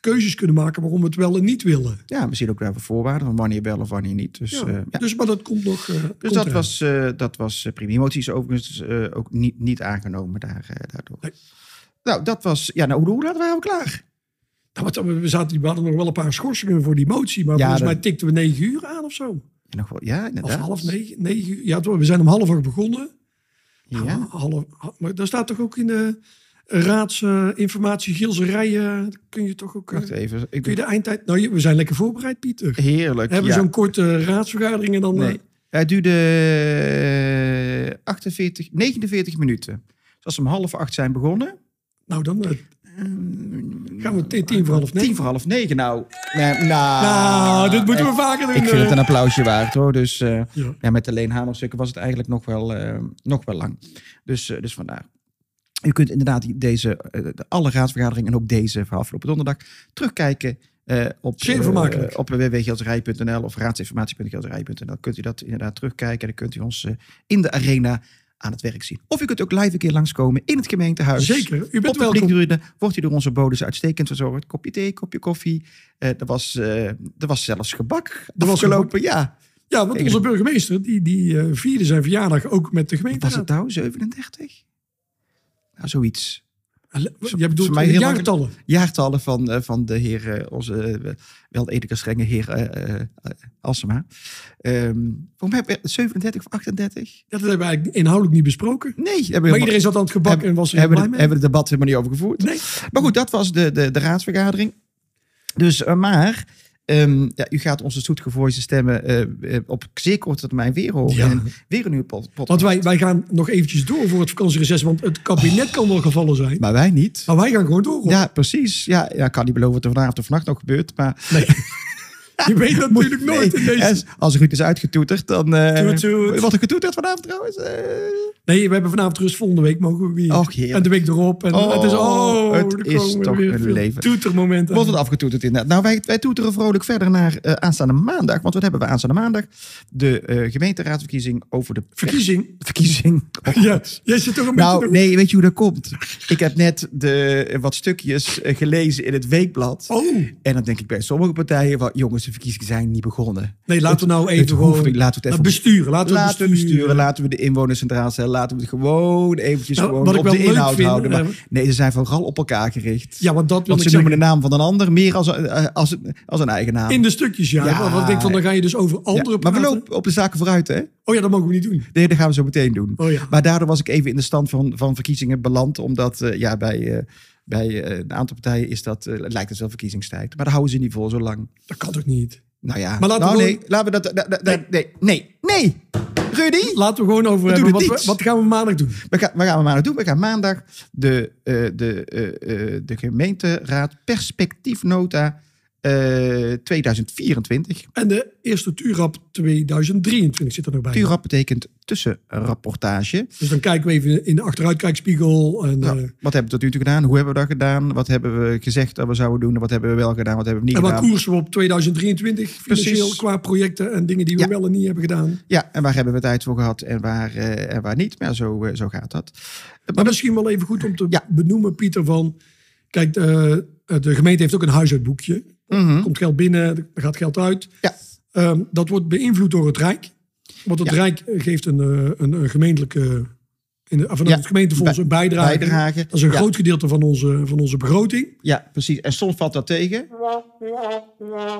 B: keuzes kunnen maken waarom we het wel en niet willen.
A: Ja, misschien ook daarvoor voorwaarden van wanneer wel of wanneer niet. Dus,
B: Ja.
A: ja. ja.
B: Dus, maar dat komt nog. eh,
A: dus
B: komt
A: dat
B: eraan.
A: was, eh dat was eh, prima. Die motie is overigens eh, ook niet, niet aangenomen daar, eh, daardoor.
B: Nee.
A: Nou, dat was... Ja, nou, hoe, hoe laten we hem klaar?
B: Nou, wat- we, zaten, we hadden nog wel een paar schorsingen voor die motie, maar
A: Ja,
B: volgens
A: dat-
B: mij tikten we negen uur aan of zo.
A: En nog wel, ja,
B: Of
A: inderdaad.
B: half negen, negen uur. Ja, we zijn om half acht begonnen.
A: Ja.
B: Hallo, maar daar staat toch ook in de raadsinformatie, Gielse rijen, kun je toch ook... eh,
A: Wacht even. Ik
B: kun je de eindtijd... Nou, je- we zijn lekker voorbereid, Pieter.
A: Heerlijk,
B: Hebben we
A: ja.
B: zo'n korte raadsvergadering en dan... eh,
A: Nee. Hij duurde eh, 48, 49 minuten. Dus als we om half acht zijn begonnen...
B: nou, dan eh, gaan we tien, tien voor half negen.
A: Ehm, Tien voor half negen, nou. Nee, nou,
B: Nou, dit moeten we
A: ik-
B: vaker doen.
A: Ik vind
B: eh.
A: het een applausje waard hoor. Dus eh,
B: Ja.
A: ja, met alleen hamerstukken was het eigenlijk nog wel, eh, nog wel lang. Dus, eh, dus vandaar. U kunt inderdaad die- deze, eh, de- alle raadsvergaderingen en ook deze van afgelopen donderdag terugkijken. eh, op
B: Zeer
A: eh,
B: vermakelijk.
A: op www.gelderij.nl of raadsinformatie.gelderij.nl kunt u dat inderdaad terugkijken. En dan kunt u ons eh, in de arena aan het werk zien. Of u kunt ook live een keer langskomen in het gemeentehuis.
B: Zeker, u bent
A: Op de
B: welkom.
A: publiektribune wordt u door onze bodems uitstekend verzorgd. Kopje thee, kopje koffie. Eh, er, was, eh, er was zelfs gebak er
B: was
A: afgelopen. Ja,
B: Ja, want
A: Tegen-
B: onze burgemeester, die, die eh, vierde zijn verjaardag ook met de
A: was het
B: gemeente.
A: nou 37? Nou, zoiets.
B: Je bedoelt
A: mij heel lang-
B: jaartallen.
A: jaartallen van, eh, van de heer, eh, onze eh, wel edele strenge heer eh, eh, eh, Assema. Ehm voor mij heb ik 37 of 38?
B: Ja, dat hebben we eigenlijk inhoudelijk niet besproken.
A: Nee, hebben we helemaal-
B: Maar iedereen zat aan het gebak en was er heel
A: hebben,
B: blij
A: de-
B: mee.
A: hebben het debat helemaal niet over gevoerd.
B: Nee.
A: Maar goed, dat was de, de, de raadsvergadering. Dus, eh, maar, ehm, ja, u gaat onze zoetgevoelige stemmen eh, eh, op zeer korte termijn weer horen.
B: Ja.
A: En weer een uur pod- podcast.
B: Want wij, wij gaan nog eventjes door voor het vakantiereces. Want het kabinet kan wel gevallen zijn.
A: Oh. Maar wij niet.
B: Maar wij gaan gewoon door. hoor.
A: Ja, precies. Ja, ja, ik kan niet beloven wat er vanavond of vannacht nog gebeurt. Maar
B: Nee. Je weet dat natuurlijk nooit in
A: Nee,
B: deze...
A: als- Als er goed is uitgetoeterd, dan... eh,
B: Toet, toet.
A: Wordt er getoeterd vanavond trouwens? Eh,
B: Nee, we hebben vanavond rust. Volgende week mogen we weer.
A: Och, heerlijk.
B: en de week erop. En
A: Oh,
B: het is, oh,
A: het
B: er
A: is
B: komen
A: toch
B: weer
A: een
B: veel
A: leven.
B: Toetermomenten.
A: wordt het afgetoeterd inderdaad. Nou, wij, wij toeteren vrolijk verder naar eh, aanstaande maandag. Want wat hebben we aanstaande maandag? De eh gemeenteraadsverkiezing over de
B: Verkiezing.
A: verkiezing.
B: Ja, jij zit toch een
A: Nou,
B: beetje...
A: nee, weet je hoe dat komt? Ik heb net de, wat stukjes eh, gelezen in het Weekblad.
B: Oh,
A: En dan denk ik bij sommige partijen, van, jongens, de verkiezingen zijn niet begonnen.
B: nee, laten we nou even
A: het hoeft
B: gewoon...
A: niet, laten we het even-
B: besturen. Laten we
A: laten we besturen, laten we de inwoners centraal stellen, laten we het gewoon eventjes
B: Nou, wat
A: gewoon
B: ik
A: op
B: wel
A: de
B: leuk
A: inhoud
B: vind,
A: houden.
B: eh,
A: Maar, nee, ze zijn vooral op elkaar gericht.
B: Ja, want dat wil
A: Want ze
B: ik
A: noemen
B: zeggen.
A: de naam van een ander meer als, eh, als, een- als een eigen naam.
B: In de stukjes, ja.
A: Ja.
B: Want ik denk van, dan ga je dus over
A: Ja,
B: andere
A: maar we
B: praten.
A: lopen op de zaken vooruit, hè?
B: Oh ja, dat mogen we niet doen.
A: Nee, dat gaan we zo meteen doen.
B: Oh ja.
A: Maar daardoor was ik even in de stand van, van verkiezingen beland. Omdat eh, ja, bij, eh, bij eh, een aantal partijen is dat, eh, lijkt het wel verkiezingstijd. Maar daar houden ze niet voor zo lang.
B: Dat kan toch niet?
A: Nou ja.
B: Maar laten
A: nou,
B: we
A: nee, laten we dat... da- da- da- nee, nee, nee. Rudy,
B: Laten we gewoon over hebben.
A: doen
B: Wat,
A: het
B: we-
A: niet.
B: wat gaan we maandag doen?
A: we gaan, wat gaan we maandag doen? We gaan maandag de, eh, de, eh, eh, de gemeenteraad perspectiefnota eh, 2024.
B: En de eerste Tuurrap 2023 zit er nog bij.
A: Tuurrap betekent tussenrapportage.
B: Dus dan kijken we even in de achteruitkijkspiegel. En,
A: Nou,
B: eh,
A: wat hebben we tot nu toe gedaan? Hoe hebben we dat gedaan? Wat hebben we gezegd dat we zouden doen? Wat hebben we wel gedaan? Wat hebben we niet
B: en wat
A: gedaan?
B: koersen we op 2023 financieel
A: Precies.
B: qua projecten en dingen die we
A: Ja.
B: wel en niet hebben gedaan. Maar,
A: Ja, en waar hebben we tijd voor gehad en waar, eh, en waar niet? Maar ja, zo, eh, zo gaat dat.
B: misschien wel even goed om te
A: Ja.
B: benoemen, Pieter, van... Kijk, de, de gemeente heeft ook een huishoudboekje. Er
A: Mhm.
B: komt geld binnen, er gaat geld uit.
A: Ja.
B: Ehm, dat wordt beïnvloed door het Rijk. Want het
A: Ja.
B: Rijk geeft een, eh, een, een gemeentelijke... In de, vanuit
A: Ja,
B: het gemeentefonds
A: bij-
B: een bijdrage.
A: bijdrage.
B: Dat is een
A: Ja.
B: groot gedeelte van onze, van onze begroting.
A: Ja, precies. En soms valt dat tegen.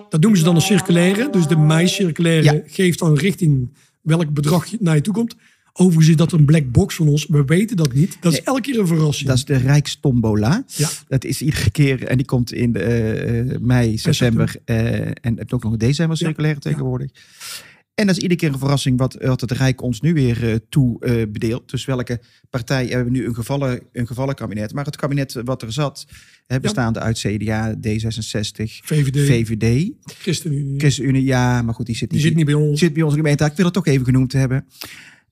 B: Dat noemen ze dan een circulaire. Dus de mei-circulaire
A: Ja.
B: geeft dan richting welk bedrag je- naar je toe komt. Overigens is dat een black box van ons. We weten dat niet. Dat is elke keer een verrassing.
A: Dat is de Rijkstombola.
B: Ja.
A: Dat is iedere keer, en die komt in eh, eh, mei, september eh, en heb ook nog in december circulaire tegenwoordig. En dat is iedere keer een verrassing wat, wat het Rijk ons nu weer eh, toe eh, bedeelt. Dus welke partij hebben we nu een gevallen, een gevallen kabinet? Maar het kabinet wat er zat, hè, bestaande uit CDA, D66,
B: VVD,
A: VVD,
B: ChristenUnie.
A: ChristenUnie, ja, maar goed, die zit
B: Hm. Die
A: niet,
B: zit niet bij ons.
A: zit bij onze gemeente. Ik wil het toch even genoemd hebben.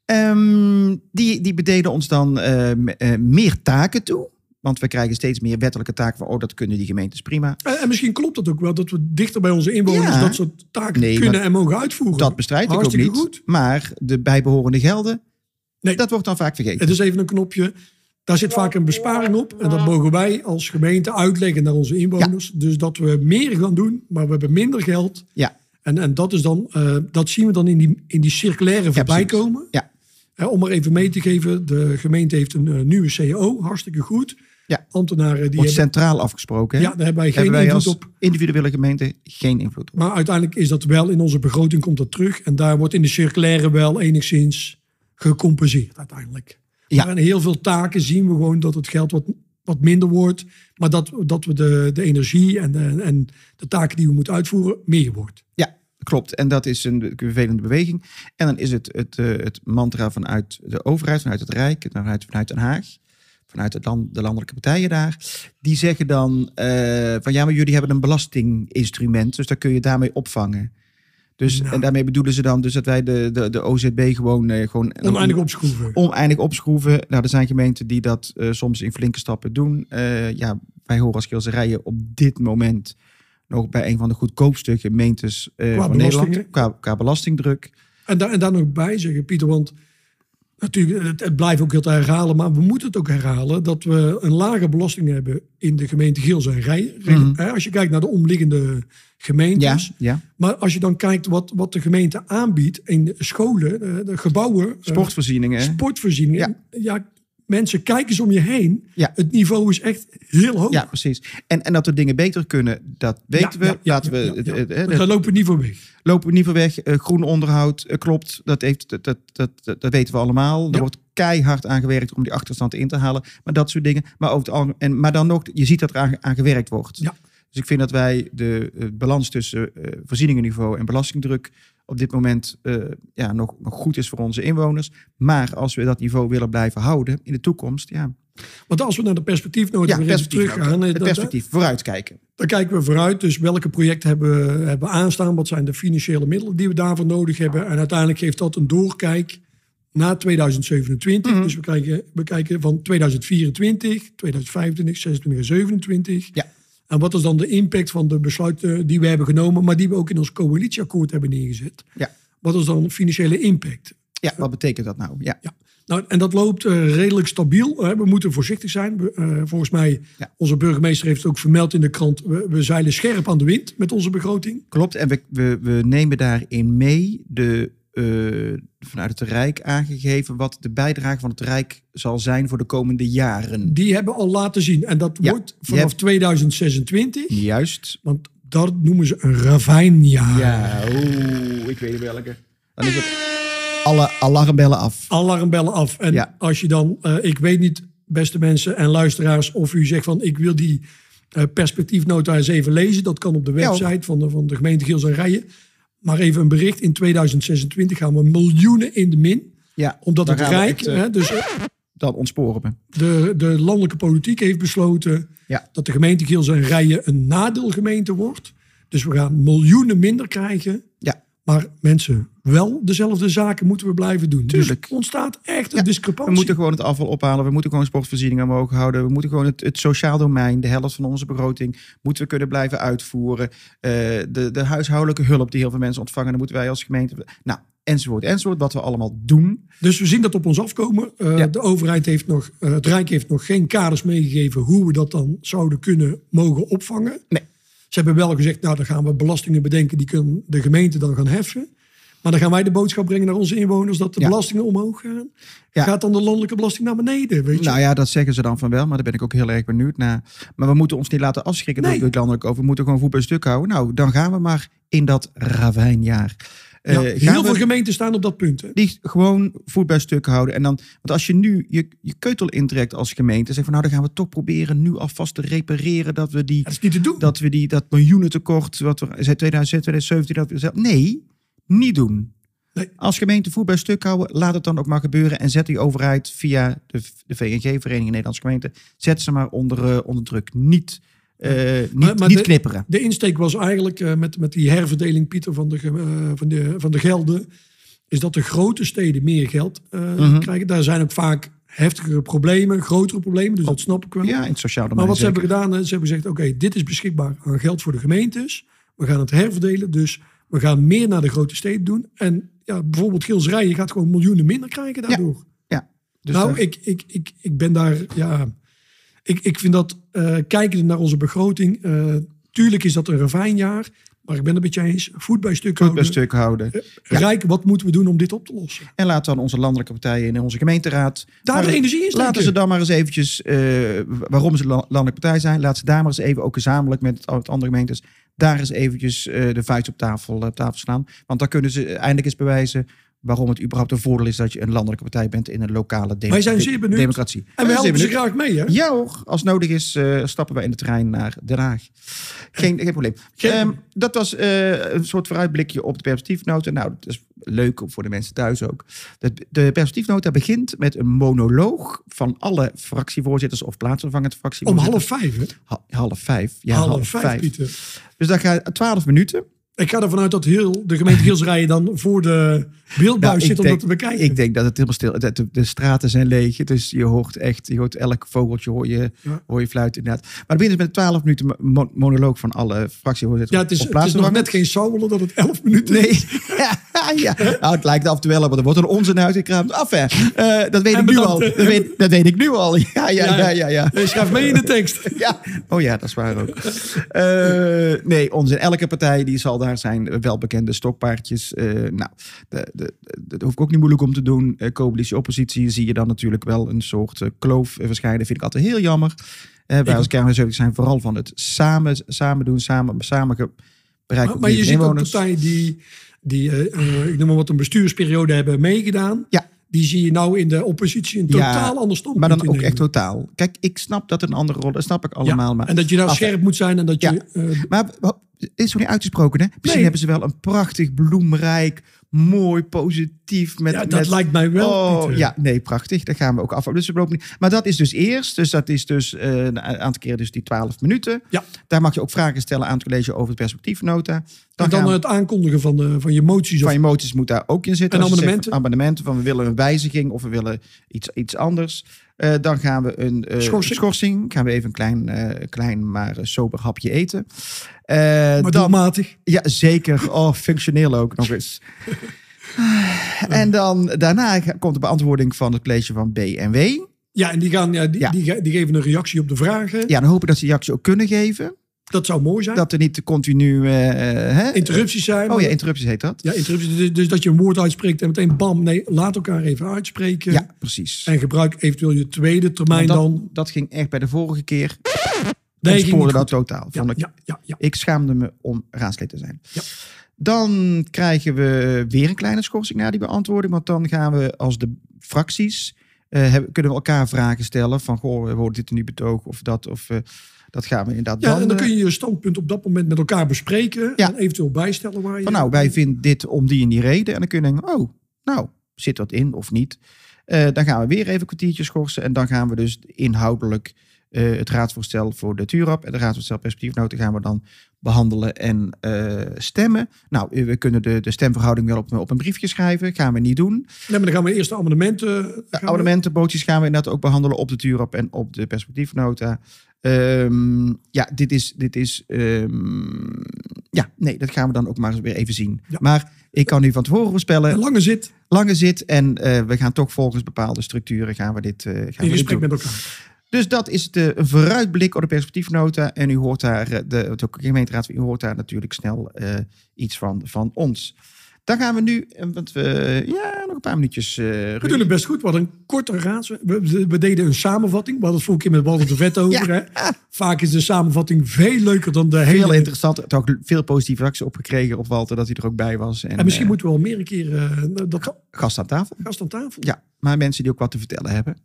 A: Ehm, die, die bededen ons dan ehm, eh, meer taken toe. Want we krijgen steeds meer wettelijke taken van, oh, dat kunnen die gemeentes prima.
B: En, en misschien klopt dat ook wel. Dat we dichter bij onze inwoners
A: Ja.
B: dat soort taken
A: Nee,
B: kunnen en mogen uitvoeren.
A: Dat bestrijdt ik ook
B: Hartstikke
A: niet.
B: goed.
A: Maar de bijbehorende gelden,
B: Nee.
A: dat wordt dan vaak vergeten.
B: Het is even een knopje. Daar zit vaak een besparing op. En dat mogen wij als gemeente uitleggen naar onze inwoners. Dus dat we meer gaan doen, maar we hebben minder geld.
A: Ja,
B: En, en dat, is dan, eh, dat zien we dan in die, in die circulaire voorbij
A: precies.
B: komen.
A: ja,
B: Hè, om maar even mee te geven, de gemeente heeft een eh, nieuwe CEO. Hartstikke goed.
A: Ja.
B: Ambtenaren die
A: wordt
B: hebben,
A: centraal afgesproken. hè?
B: ja, daar hebben wij geen
A: Hebben wij
B: invloed
A: als
B: op.
A: individuele gemeente geen invloed op.
B: Maar uiteindelijk is dat wel in onze begroting komt dat terug. En daar wordt in de circulaire wel enigszins gecompenseerd uiteindelijk.
A: Ja.
B: Maar in heel veel taken zien we gewoon dat het geld wat, wat minder wordt. Maar dat, dat we de, de energie en de, en de taken die we moeten uitvoeren meer wordt.
A: Ja, klopt. En dat is een vervelende beweging. En dan is het het, eh, het mantra vanuit de overheid, vanuit het Rijk, vanuit, vanuit Den Haag, vanuit het land, de landelijke partijen daar. Die zeggen dan eh, van ja, maar jullie hebben een belastinginstrument, dus daar kun je daarmee opvangen. Dus,
B: Nou.
A: En daarmee bedoelen ze dan dus dat wij de, de, de OZB gewoon, eh, gewoon
B: Oneindig opschroeven.
A: oneindig opschroeven. Nou, er zijn gemeenten die dat eh, soms in flinke stappen doen. Eh, ja, wij horen als Gilserijen op dit moment nog bij een van de goedkoopste gemeentes eh,
B: Qua
A: van Nederland.
B: belastingen?
A: Qua, qua belastingdruk.
B: En, daar en daar nog bij zeggen, Pieter, want natuurlijk, het, het blijft ook heel te herhalen, maar we moeten het ook herhalen dat we een lage belasting hebben in de gemeente Geels en Rijen. Hè, Als je kijkt naar de omliggende
A: Mhm. Ja,
B: gemeentes.
A: ja.
B: Maar als je dan kijkt wat, wat de gemeente aanbiedt in de scholen, eh, de gebouwen, eh,
A: Sportvoorzieningen.
B: sportvoorzieningen. Ja. mensen, kijk eens om je heen.
A: Ja.
B: Het niveau is echt heel hoog.
A: Ja, precies. En, en dat er dingen beter kunnen, dat weten
B: Ja,
A: we.
B: ja, ja,
A: Laten we
B: ja,
A: het-
B: ja.
A: het- hè,
B: Want
A: dat
B: Daar lopen we niet voor weg.
A: lopen we niet van weg. Eh, groen onderhoud eh, klopt. Dat, heeft, dat, dat, dat, dat, dat weten we allemaal. Er
B: Ja.
A: wordt keihard aan gewerkt om die achterstand in te halen. Maar dat soort dingen. Maar, over het algemeen- en, maar dan nog, je ziet dat er aan, aan gewerkt wordt.
B: Ja.
A: Dus ik vind dat wij de eh, balans tussen eh, voorzieningenniveau en belastingdruk op dit moment eh, ja, nog, nog goed is voor onze inwoners. Maar als we dat niveau willen blijven houden in de toekomst, ja,
B: Want als we naar de perspectiefnota
A: ja
B: weer eh, even
A: perspectief,
B: teruggaan.
A: ook.
B: hè,
A: het
B: dan-
A: perspectief vooruitkijken.
B: Dan kijken we vooruit. Dus welke projecten hebben, we- hebben we aanstaan? Wat zijn de financiële middelen die we daarvoor nodig hebben? En uiteindelijk geeft dat een doorkijk na 2027. Dus we kijken, we kijken van 2024, 2025, 26 en 27.
A: Ja.
B: En wat is dan de impact van de besluiten die we hebben genomen, maar die we ook in ons coalitieakkoord hebben neergezet?
A: Ja.
B: Wat is dan de financiële impact?
A: Ja, wat betekent dat nou? Ja,
B: Ja. Nou, en dat loopt eh, redelijk stabiel. hè. we moeten voorzichtig zijn. We, eh, volgens mij,
A: Ja.
B: onze burgemeester heeft het ook vermeld in de krant. We, we zeilen scherp aan de wind met onze begroting.
A: klopt. En we, we, we nemen daarin mee de, eh, vanuit het Rijk aangegeven wat de bijdrage van het Rijk zal zijn voor de komende jaren.
B: Die hebben al laten zien. En dat
A: Ja.
B: wordt
A: Je
B: vanaf
A: hebt-
B: 2026.
A: Juist.
B: Want dat noemen ze een ravijnjaar.
A: Ja, oeh, ik weet niet welke. Dan is het alle alarmbellen af.
B: Alarmbellen af. En
A: Ja.
B: als je dan, eh, ik weet niet, beste mensen en luisteraars, of u zegt van ik wil die eh, perspectiefnota eens even lezen. Dat kan op de
A: Ja.
B: website van, de, van de gemeente Giels en Rijen. Maar even een bericht. In 2026 gaan we miljoenen in de min.
A: Ja,
B: Omdat
A: dan
B: het
A: gaan we
B: Rijk,
A: echt, eh,
B: hè, dus eh,
A: dan ontsporen we.
B: de, de landelijke politiek heeft besloten
A: Ja.
B: dat de gemeente Giels en Rijen een nadeelgemeente wordt. Dus we gaan miljoenen minder krijgen.
A: Ja,
B: Maar mensen, wel dezelfde zaken moeten we blijven doen.
A: Tuurlijk.
B: Dus er ontstaat echt een
A: Ja, we
B: discrepantie.
A: moeten gewoon het afval ophalen. We moeten gewoon sportvoorzieningen omhoog houden. We moeten gewoon het, het sociaal domein, de helft van onze begroting, moeten we kunnen blijven uitvoeren. Eh, de, de huishoudelijke hulp die heel veel mensen ontvangen, dan moeten wij als gemeente. Nou, enzovoort, enzovoort. Wat we allemaal doen.
B: Dus we zien dat op ons afkomen. Eh,
A: Ja.
B: De overheid heeft nog, eh, het Rijk heeft nog geen kaders meegegeven hoe we dat dan zouden kunnen mogen opvangen.
A: Nee.
B: Ze hebben wel gezegd, nou dan gaan we belastingen bedenken, die kunnen de gemeente dan gaan heffen. Maar dan gaan wij de boodschap brengen naar onze inwoners dat de
A: Ja.
B: belastingen omhoog gaan.
A: Ja.
B: Gaat dan de landelijke belasting naar beneden, weet je?
A: Nou ja, dat zeggen ze dan van wel, maar daar ben ik ook heel erg benieuwd naar. Maar we moeten ons niet laten afschrikken
B: Nee.
A: door het landelijk over. We moeten gewoon voet bij stuk houden. Nou, dan gaan we maar in dat ravijnjaar. Eh,
B: Ja,
A: gaan
B: heel
A: we-
B: veel gemeenten staan op dat punt. Hè?
A: die gewoon voet bij stuk houden. En dan, want als je nu je, je keutel intrekt als gemeente, zeg van nou, dan gaan we toch proberen nu alvast te repareren dat we die,
B: Dat is niet te doen.
A: dat we die, dat miljoenen tekort, wat we zei 2016, 2017, dat we zelf, nee, niet doen.
B: Nee.
A: Als gemeente voet bij stuk houden, laat het dan ook maar gebeuren en zet die overheid via de, de VNG, Vereniging Nederlandse Gemeenten, zet ze maar onder, eh, onder druk. Niet, eh, niet,
B: Maar- maar
A: niet
B: de-
A: knipperen.
B: De insteek was eigenlijk eh, met, met die herverdeling, Pieter, van de, ge- eh, van, de, van de gelden. Is dat de grote steden meer geld eh,
A: Mhm.
B: krijgen. Daar zijn ook vaak heftigere problemen, grotere problemen. Dus dat snap ik wel.
A: Ja, in het sociaal domein.
B: maar wat ze
A: zeker.
B: hebben gedaan, eh, ze hebben gezegd... oké, dit is beschikbaar aan geld voor de gemeentes. We gaan het herverdelen, dus we gaan meer naar de grote steden doen. En ja, bijvoorbeeld Gils Rijen gaat gewoon miljoenen minder krijgen daardoor.
A: Ja, dus
B: nou,
A: daar-
B: ik, ik, ik, ik ben daar, ja. Ik, ik vind dat, eh kijkend naar onze begroting, eh, tuurlijk is dat een ravijnjaar. Maar ik ben het met je eens, voet bij stuk
A: voet bij
B: houden.
A: stuk houden. ja.
B: Rijk, wat moeten we doen om dit op te lossen?
A: En laat dan onze landelijke partijen in onze gemeenteraad.
B: Daar
A: maar
B: de energie in steken.
A: Nou, Laten ze dan maar eens eventjes, eh, waarom ze la- landelijke partij zijn, laat ze daar maar eens even ook gezamenlijk met het, met andere gemeentes, daar eens eventjes eh, de vuist op tafel, eh, op tafel slaan. Want dan kunnen ze eindelijk eens bewijzen waarom het überhaupt een voordeel is dat je een landelijke partij bent in een lokale demo-
B: Wij zijn zeer benieuwd.
A: democratie.
B: En
A: Wij
B: we
A: zijn
B: helpen ze
A: benieuwd.
B: graag mee, hè?
A: Ja hoor, als nodig is eh, stappen wij in de trein naar Den Haag. Geen, geen probleem.
B: Geen
A: Ehm,
B: probleem.
A: dat was eh, een soort vooruitblikje op de perspectiefnota. Nou, dat is leuk voor de mensen thuis ook. De, de perspectiefnota begint met een monoloog van alle fractievoorzitters of plaatsvervangend
B: Om
A: fractievoorzitters.
B: half vijf, hè?
A: Ha- half vijf. Ja,
B: half, vijf, Pieter.
A: Dus dat gaat 12 minuten.
B: Ik ga ervan uit dat heel de gemeente Gilsrijen dan voor de beeldbuis
A: Nou, ik
B: zit om
A: denk-
B: dat te bekijken.
A: Ik denk dat het helemaal stil dat De, de straten zijn leeg. Dus je hoort echt, je hoort elk vogeltje, hoor je,
B: Ja.
A: hoor je fluiten inderdaad. Maar het begint dus met 12 minuten mo- mo- monoloog van alle fractievoorzitters.
B: ja, het is,
A: op
B: het is nog
A: plaatsvervangend.
B: net geen saubelen dat het elf minuten
A: Nee, ja, ja. Nou, het lijkt af te wel, want er wordt een onzin uitgekraamd. Af, hè. Eh, dat weet
B: En
A: ik nu
B: bedankt,
A: al. Dat
B: hè.
A: weet, dat weet ik nu al. Ja, ja,
B: Ja.
A: ja, ja. ja.
B: is. Schrijf mee in de tekst.
A: Ja, oh ja, dat is waar ook. Eh, nee, onzin. Elke partij die zal daar zijn welbekende stokpaardjes. Eh, nou, de- de- de- dat hoef ik ook niet moeilijk om te doen. Eh coalitie, oppositie zie je dan natuurlijk wel een soort eh, kloof eh, verschijnen. Vind ik altijd heel jammer. Eh wij
B: Ik-
A: als Kern 70 zijn vooral van het samen, samen doen, samen, samen ge- bereiken.
B: Maar,
A: van
B: maar je
A: de
B: ziet ook
A: inwoners.
B: partijen die, die eh, eh, ik noem maar wat, een bestuursperiode hebben meegedaan.
A: Ja.
B: Die zie je nou in de oppositie een
A: Ja,
B: totaal ander standpunt
A: Maar dan ook
B: innemen.
A: echt totaal. Kijk, ik snap dat het een andere rol is. Dat snap ik allemaal.
B: Ja,
A: Maar
B: En dat je daar
A: Af-
B: scherp moet zijn en dat je...
A: Ja.
B: eh,
A: Maar wa- is nog niet uitgesproken, hè? Misschien
B: Nee.
A: hebben ze wel een prachtig, bloemrijk, mooi, positief. Met,
B: ja, dat
A: met-
B: lijkt mij wel.
A: Oh,
B: Pieter.
A: ja, nee, prachtig. Dat gaan we ook af. Dus we lopen niet. Maar dat is dus eerst. Dus dat is dus eh, een aantal keren dus die 12 minuten.
B: Ja.
A: Daar mag je ook vragen stellen aan het college over het perspectiefnota. Dan,
B: en dan
A: gaan we-
B: het aankondigen van, eh, van je moties.
A: van
B: Of,
A: je moties moet daar ook in zitten.
B: En
A: Als je zegt van
B: amendementen?
A: Amendementen van we willen een wijziging of we willen iets, iets anders. Eh, dan gaan we een eh,
B: Schorsing.
A: schorsing. Gaan we even een klein, eh, klein maar eh, sober hapje eten. Eh,
B: maar
A: dan,
B: doelmatig.
A: ja, zeker. Oh, functioneel ook nog eens. En dan daarna ga- komt de beantwoording van het college van B en W.
B: Ja, en die, gaan, ja, die,
A: Ja.
B: Die, ge- die geven een reactie op de vragen.
A: Ja, dan hopen dat ze reactie ook kunnen geven.
B: Dat zou mooi zijn.
A: Dat er niet continu... eh, eh, hè?
B: interrupties zijn.
A: Oh ja, interrupties heet dat.
B: Ja, interrupties. Dus, dus dat je een woord uitspreekt en meteen bam. Nee, laat elkaar even uitspreken.
A: Ja, precies.
B: En gebruik eventueel je tweede termijn
A: Want dat,
B: dan.
A: dat ging echt bij de vorige keer.
B: Nee,
A: Nee,
B: ging niet
A: spoorde dat
B: goed.
A: totaal.
B: Ja,
A: Vond ik,
B: ja, ja, ja.
A: ik schaamde me om raadslid te zijn.
B: Ja.
A: Dan krijgen we weer een kleine schorsing na die beantwoording. Want dan gaan we als de fracties... eh, hebben- kunnen we elkaar vragen stellen. Van, goh, eh, wordt dit een nu betoog of dat? Of, eh, dat gaan we inderdaad
B: Ja, en dan
A: eh,
B: kun je je standpunt op dat moment met elkaar bespreken.
A: Ja.
B: En eventueel bijstellen waar je...
A: Van nou, wij vinden dit om die en die reden. En dan kun je denken, oh, nou, zit dat in of niet? Eh, dan gaan we weer even een kwartiertje schorsen. En dan gaan we dus inhoudelijk eh, het raadsvoorstel voor de TURAP en de raadsvoorstel perspectiefnoten gaan we dan behandelen en eh, stemmen. Nou, eh, we kunnen de, de stemverhouding wel op, op een briefje schrijven. Gaan we niet doen.
B: Nee, maar dan gaan we eerst de amendementen... eh, gaan we-
A: De abonnementenbootjes gaan we inderdaad ook behandelen op de TURAP en op de perspectiefnota. Ehm, ja, dit is. Dit is ehm, ja, nee, dat gaan we dan ook maar eens weer even zien.
B: Ja.
A: Maar ik kan nu van tevoren
B: Een
A: voorspellen,
B: lange zit
A: lange zit en eh, we gaan toch volgens bepaalde structuren gaan we dit, eh, gaan
B: in
A: we dit
B: gesprek
A: doen.
B: met elkaar.
A: Dus dat is de vooruitblik op de perspectiefnota. En u hoort daar, eh, de, de gemeenteraad, u hoort daar natuurlijk snel eh, iets van, van ons. Dan gaan we nu, eh, want we, ja, nog een paar minuutjes. eh,
B: We
A: Ruud.
B: doen het best goed. Wat een korte raads. We, we- we deden een samenvatting. We hadden het vorige keer met Walter de Vet over. Hè? Vaak is de samenvatting veel leuker dan de
A: Heel
B: hele...
A: interessant. Er ook veel positieve reacties op gekregen op Walter dat hij er ook bij was. En,
B: En misschien
A: eh,
B: moeten we wel meer een keer eh, dat
A: gast aan tafel.
B: gast aan tafel.
A: Ja, maar mensen die ook wat te vertellen hebben.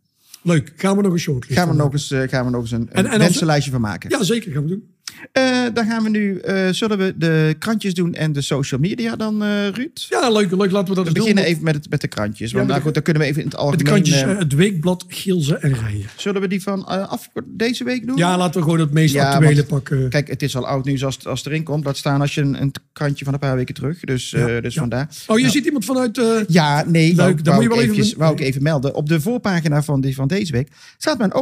B: Leuk. Gaan we nog een shortlist
A: Gaan we
B: van
A: nog eens, eh, gaan we nog eens een,
B: En-
A: een
B: en als-
A: wensenlijstje van maken.
B: maken? Ja, zeker gaan we doen.
A: Eh, dan gaan we nu, eh, zullen we de krantjes doen en de social media dan, eh, Ruud?
B: Ja, leuk. leuk. Laten we dat
A: We
B: eens doen.
A: beginnen even met, het, met de krantjes. Want nou
B: Ja, met
A: goed, dan kunnen we even in het
B: De
A: algemeen...
B: krantjes,
A: eh,
B: eh, het weekblad Gilze en Rijen.
A: zullen we die van eh, af, deze week doen?
B: Ja, laten we gewoon het meest
A: Ja,
B: actuele
A: want-
B: pakken.
A: Kijk, het is al oud nieuws als, het- als het erin komt. Laat staan als je een, een krantje van een paar weken terug. Dus, eh, dus
B: ja.
A: vandaar.
B: Oh, je
A: Nou.
B: ziet iemand vanuit... eh,
A: Ja, nee,
B: Leuk,
A: wou-
B: dan
A: wou
B: moet je
A: ik
B: wel even-
A: eventjes- wou ik even melden. Op de voorpagina van, die, van deze week staat mijn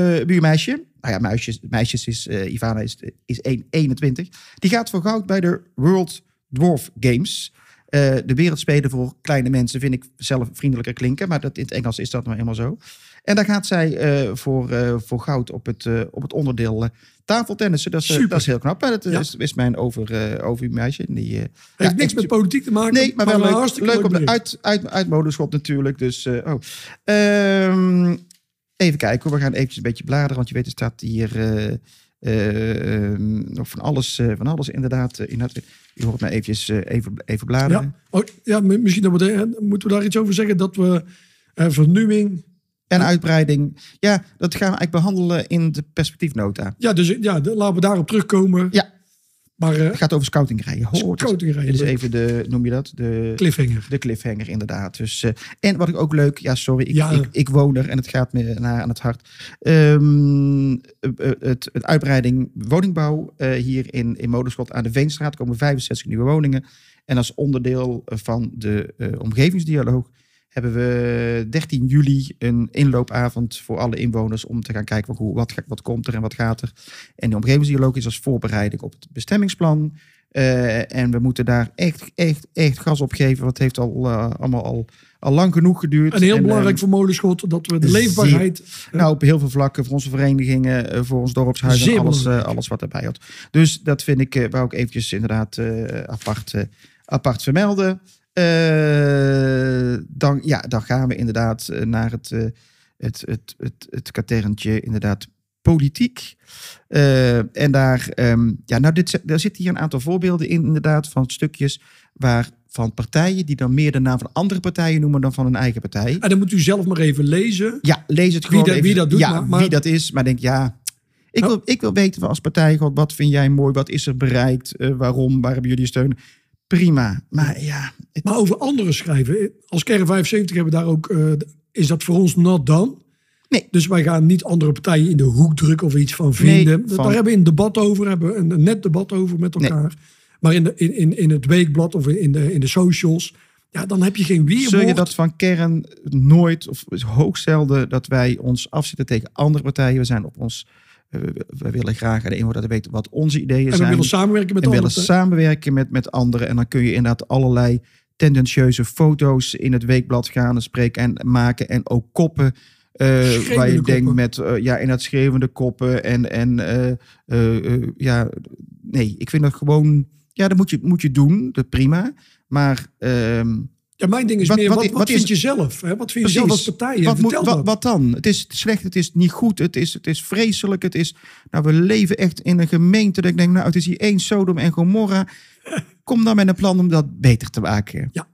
A: overbuurmeisje. nou ja, meisjes, meisjes is, eh, Ivana is, is 1, 21. Die gaat voor goud bij de World Dwarf Games. Eh, de wereldspelen voor kleine mensen vind ik zelf vriendelijker klinken. Maar dat, in het Engels is dat nou eenmaal zo. En daar gaat zij eh, voor, eh, voor goud op het, eh, op het onderdeel eh, tafeltennissen. Dat is, eh,
B: Super.
A: dat is heel knap. Maar dat eh,
B: Ja.
A: is, is mijn over, eh, overbuurmeisje. Die, eh, ja,
B: heeft niks
A: echt
B: met politiek te maken.
A: Nee, maar wel
B: een
A: leuk.
B: hartstikke
A: Leuk op de
B: bericht.
A: uit, uit, uitmolenschop natuurlijk. Dus, eh, oh. Ehm, even kijken hoor. We gaan eventjes een beetje bladeren. Want je weet, er staat hier eh, eh, ehm, nog van alles, eh, van alles inderdaad. eh, inderdaad. je hoort mij eventjes eh, even, even bladeren.
B: Ja, oh, ja mi- misschien dat we de- eh, moeten we daar iets over zeggen. Dat we eh, vernieuwing...
A: En uitbreiding. Ja, dat gaan we eigenlijk behandelen in de perspectiefnota.
B: Ja, dus ja, de- laten we daarop terugkomen.
A: Ja.
B: Maar eh
A: Het gaat over scouting rijden. Ho, het is-
B: scoutingrijden,
A: Dit is
B: leuk.
A: even de, noem je dat? De,
B: cliffhanger.
A: de cliffhanger inderdaad. Dus, eh, en wat ik ook leuk, ja sorry, ik,
B: Ja.
A: ik, ik woon er en het gaat me naar aan het hart. Ehm, eh, eh, het, het uitbreiding woningbouw eh, hier in, in Moderschot aan de Veenstraat komen 65 nieuwe woningen. En als onderdeel van de eh, omgevingsdialoog hebben we 13 juli een inloopavond voor alle inwoners om te gaan kijken van hoe, wat, ga- wat komt er en wat gaat er. En de omgevingsdialoog is als voorbereiding op het bestemmingsplan. Eh, en we moeten daar echt, echt, echt gas op geven. Want het heeft al, eh, allemaal al, al lang genoeg geduurd.
B: En heel
A: En,
B: belangrijk
A: eh,
B: voor Molenschot dat we de
A: zeer-
B: leefbaarheid.
A: nou, op heel veel vlakken voor onze verenigingen, eh, voor ons dorpshuis en
B: Zeer
A: alles, eh,
B: belangrijk.
A: alles wat daarbij had. Dus dat vind ik, eh wou ik eventjes inderdaad eh, apart, eh, apart vermelden. Eh, dan, ja, dan gaan we inderdaad eh, naar het, eh, het, het, het, het katerntje, inderdaad, politiek. Eh, en daar, ehm, ja, nou, dit, daar zitten hier een aantal voorbeelden in, inderdaad, van stukjes waar van partijen die dan meer de naam van andere partijen noemen dan van hun eigen partij.
B: En dan moet u zelf maar even lezen.
A: Ja, lees het
B: Wie
A: gewoon
B: dat-
A: even.
B: wie dat doet,
A: ja,
B: maar- Oh. maar-
A: wie dat is. Maar denk, ja, ik wil, ik wil weten van als partij, God, wat vind jij mooi? Wat is er bereikt? eh, waarom? Waar hebben jullie steun? Prima. Maar ja, het-
B: Maar over anderen schrijven. Als Kern 75 hebben we daar ook. eh, is dat voor ons not done?
A: Nee.
B: Dus wij gaan niet andere partijen in de hoek drukken of iets van vinden.
A: Nee, van-
B: Daar hebben we een debat over, hebben we een, een net debat over met
A: Nee.
B: elkaar. Maar in, de, in, in, in het weekblad of in de, in de socials. Ja, dan heb je geen weerwoord.
A: zul je dat van kern nooit of hoogst zelden dat wij ons afzetten tegen andere partijen? We zijn op ons, eh, we, we willen graag aan de inwoner laten weten wat onze ideeën
B: en we
A: zijn.
B: willen samenwerken met
A: en
B: anderen.
A: willen samenwerken met, met anderen. En dan kun je inderdaad allerlei tendentieuze foto's in het weekblad gaan en spreken en maken. En ook koppen. eh,
B: Schreeuwende
A: waar je
B: koppen.
A: denkt met, eh, ja, inderdaad schreeuwende koppen. En, en eh, eh, eh, ja, nee, ik vind dat gewoon, ja, dat moet je, moet je doen. Dat prima. Maar ehm,
B: Ja, mijn ding is
A: Wat-
B: meer,
A: wat-
B: wat, wat,
A: wat is-
B: vind je zelf? Hè? Wat vind je zelf als
A: precies,
B: partij?
A: wat, moet,
B: Vertel
A: wat,
B: dat.
A: wat dan? Het is slecht, het is niet goed, het is, het is vreselijk. Het is, nou, we leven echt in een gemeente dat ik denk, nou, het is hier één Sodom en Gomorra. Kom dan met een plan om dat beter te maken.
B: Ja.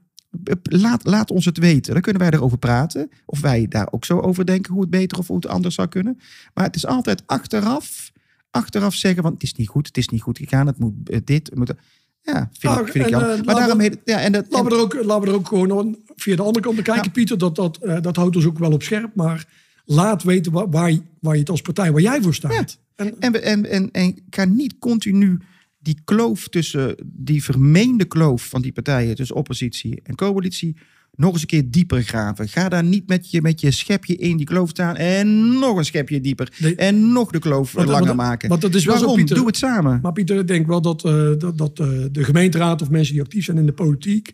A: Laat, laat ons het weten. Dan kunnen wij erover praten. Of wij daar ook zo over denken hoe het beter of hoe het anders zou kunnen. Maar het is altijd achteraf, achteraf zeggen, want het is niet goed, het is niet goed gegaan, het moet eh, dit, het moet dat. Ja, vind,
B: Nou,
A: ik, vind ik
B: en,
A: jammer.
B: eh,
A: maar
B: laten
A: daarom
B: we-
A: heet het- ja, en dat, en-
B: Laten we, er ook, laten we er ook gewoon aan- via de andere kant naar kijken,
A: Ja.
B: Pieter. Dat, dat, eh, dat houdt ons ook wel op scherp. Maar laat weten waar, waar, je- waar je het als partij, waar jij voor staat. En,
A: En, we- en, en, en ga niet continu die kloof tussen, die vermeende kloof van die partijen, tussen oppositie en coalitie, nog eens een keer dieper graven. Ga daar niet met je, met je schepje in die kloof staan en nog een schepje dieper
B: Nee.
A: en nog de kloof
B: Want-
A: langer
B: want-
A: maken.
B: want dat is wel zo,
A: Waarom?
B: Pieter.
A: Doe het samen.
B: maar Pieter, ik denk wel dat, eh, dat, dat eh, de gemeenteraad of mensen die actief zijn in de politiek...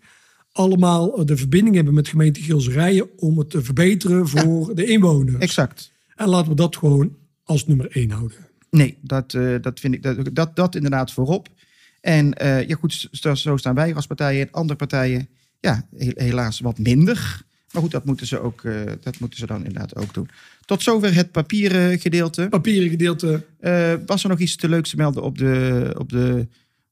B: allemaal eh, de verbinding hebben met gemeente Gilserijen... om het te verbeteren voor de inwoners.
A: Exact.
B: En laten we dat gewoon als nummer één houden.
A: Nee, dat, eh, dat vind ik dat, dat, dat inderdaad voorop. En eh, ja, goed, s- s- zo staan wij als partijen en andere partijen. Ja, he- helaas wat minder. Maar goed, dat moeten ze, ook, eh, dat moeten ze dan inderdaad ook doen. Tot zover het papieren gedeelte.
B: Papieren gedeelte.
A: Eh, was er nog iets te leuks te melden op de, op de,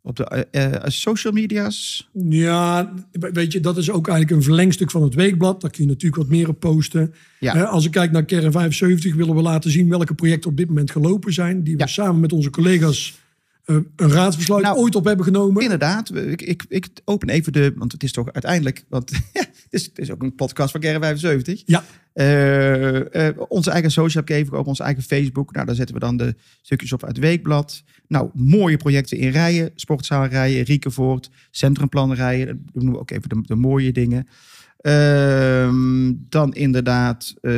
A: op de eh, eh, social media's?
B: Ja, weet je, dat is ook eigenlijk een verlengstuk van het weekblad. Daar kun je natuurlijk wat meer op posten.
A: Ja.
B: Hè, als ik kijk naar Kern 75 willen we laten zien welke projecten op dit moment gelopen zijn. Die we
A: Ja.
B: samen met onze collega's eh, een raadsbesluit
A: Nou,
B: ooit op hebben genomen.
A: Inderdaad, we- ik, ik, ik open even de. Want het is toch uiteindelijk. Want het, is, het is ook een podcast van Kern 75.
B: Ja,
A: Eh, eh, onze eigen social heb ik even op ons eigen Facebook. Nou, daar zetten we dan de stukjes op uit Weekblad. Nou, mooie projecten in rijen. Sportzaal rijen, Riekenvoort, Centrumplan rijen. Dat noemen we ook even de, de mooie dingen. Ehm, dan inderdaad... eh,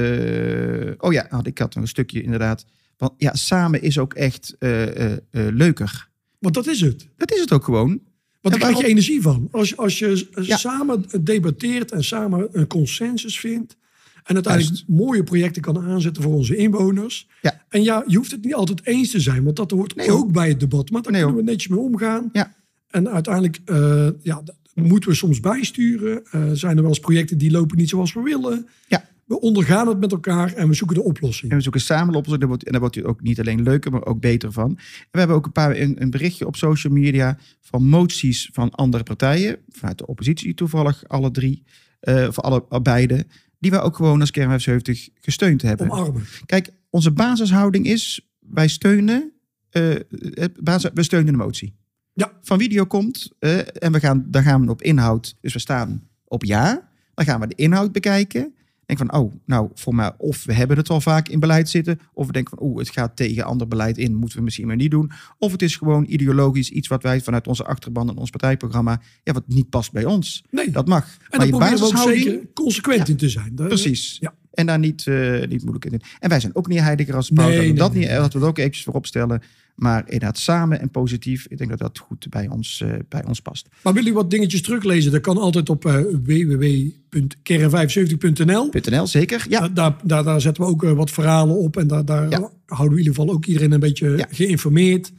A: oh ja, had ik had nog een stukje inderdaad. Want ja, samen is ook echt eh, eh, eh, leuker.
B: want dat is het.
A: Dat is het ook gewoon.
B: Want
A: En
B: daar krijg
A: waarom-
B: je energie van. Als, je- als je eh,
A: Ja.
B: samen debatteert en samen een consensus vindt. En uiteindelijk mooie projecten kan aanzetten voor onze inwoners.
A: Ja.
B: En ja, je hoeft het niet altijd eens te zijn. Want dat hoort
A: Nee, hoor.
B: ook bij het debat. Maar daar
A: Nee,
B: kunnen we netjes mee omgaan.
A: Ja.
B: En uiteindelijk eh, ja, d- moeten we soms bijsturen. Eh, zijn er wel eens projecten die lopen niet zoals we willen.
A: Ja.
B: We ondergaan het met elkaar en we zoeken de oplossing.
A: En we zoeken samen op. En daar wordt, en daar wordt het ook niet alleen leuker, maar ook beter van. En we hebben ook een, paar, een, een berichtje op social media van moties van andere partijen. Vanuit de oppositie toevallig, alle drie. eh of alle beide. Die we ook gewoon als Kern 75 gesteund hebben.
B: Omarmen.
A: Kijk, onze basishouding is, wij steunen, eh, het basis, we steunen de motie.
B: Ja.
A: Van wie die ook komt. eh, en we gaan, daar gaan we op inhoud. Dus we staan op ja. Dan gaan we de inhoud bekijken. Denk van, oh, nou, voor mij, of we hebben het al vaak in beleid zitten. Of we denken van, oeh, het gaat tegen ander beleid in. Moeten we misschien maar niet doen. Of het is gewoon ideologisch iets wat wij vanuit onze achterban en ons partijprogramma. Ja, wat niet past bij ons.
B: Nee.
A: Dat mag.
B: en daar proberen we ook zeker consequent in te zijn. Daar-
A: Precies.
B: Ja.
A: En daar niet, eh, niet moeilijk in. doen. En wij zijn ook niet heiliger als Paulus.
B: Nee,
A: dat, we
B: nee,
A: dat
B: nee,
A: niet,
B: nee.
A: dat we dat ook eventjes voorop stellen. Maar inderdaad samen en positief. Ik denk dat dat goed bij ons, eh, bij ons past.
B: Maar wil u wat dingetjes teruglezen? Dat kan altijd op eh www.kern75.nl.
A: .nl zeker? Ja,
B: Da- Daar, daar, daar zetten we ook eh, wat verhalen op. En daar, daar
A: Ja.
B: houden we in ieder geval ook iedereen een beetje
A: Ja.
B: geïnformeerd.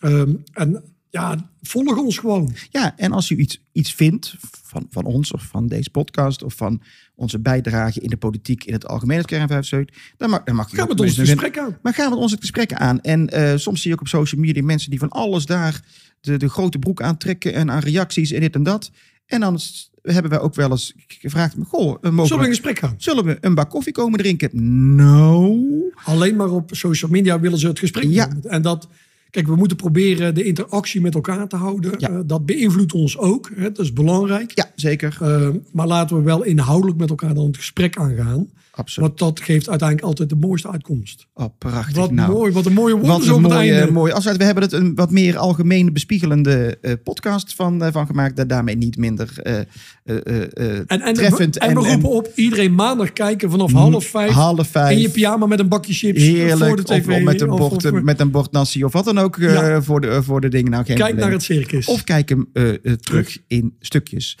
B: Ehm, en ja, volg ons gewoon.
A: Ja, en als u iets, iets vindt van, van ons of van deze podcast of van onze bijdrage in de politiek in het algemeen, het Kern 75, dan mag, dan mag u
B: Ga
A: ook
B: met ons het
A: mensen-
B: gesprek aan.
A: Maar gaan we ons het gesprek aan. En eh, soms zie je ook op social media mensen die van alles daar de, de grote broek aantrekken en aan reacties en dit en dat. En dan s- hebben wij ook wel eens gevraagd, goh, eh, mogen
B: Zullen we in
A: we,
B: gesprek gaan?
A: zullen we een bak koffie komen drinken? Nou. No.
B: Alleen maar op social media willen ze het gesprek.
A: Ja.
B: doen. En dat, kijk, we moeten proberen de interactie met elkaar te houden.
A: Ja.
B: Eh, dat beïnvloedt ons ook. Hè, dat is belangrijk.
A: Ja, zeker.
B: Eh, maar laten we wel inhoudelijk met elkaar dan het gesprek aangaan.
A: Absoluut.
B: Want dat geeft uiteindelijk altijd de mooiste uitkomst.
A: Oh, prachtig.
B: Wat
A: nou.
B: mooi, wat een mooie
A: Wat
B: woorden zo
A: een
B: op het
A: mooie,
B: einde.
A: mooie afsluit. We hebben het een wat meer algemene bespiegelende eh, podcast van, eh, van gemaakt. Daar, daarmee niet minder eh, eh, eh, eh,
B: En, en,
A: treffend.
B: en, we roepen op iedereen maandag kijken vanaf half vijf.
A: half vijf.
B: In je pyjama met een bakje chips Dus, eh, voor de
A: Heerlijk.
B: tv.
A: Of, of met, een
B: of-
A: bord,
B: of-
A: met een bord nasi of wat dan ook eh,
B: Ja.
A: voor, de, eh, voor de dingen. Nou, geen
B: kijk
A: probleem.
B: naar het circus.
A: Of kijk hem eh, eh, terug in stukjes.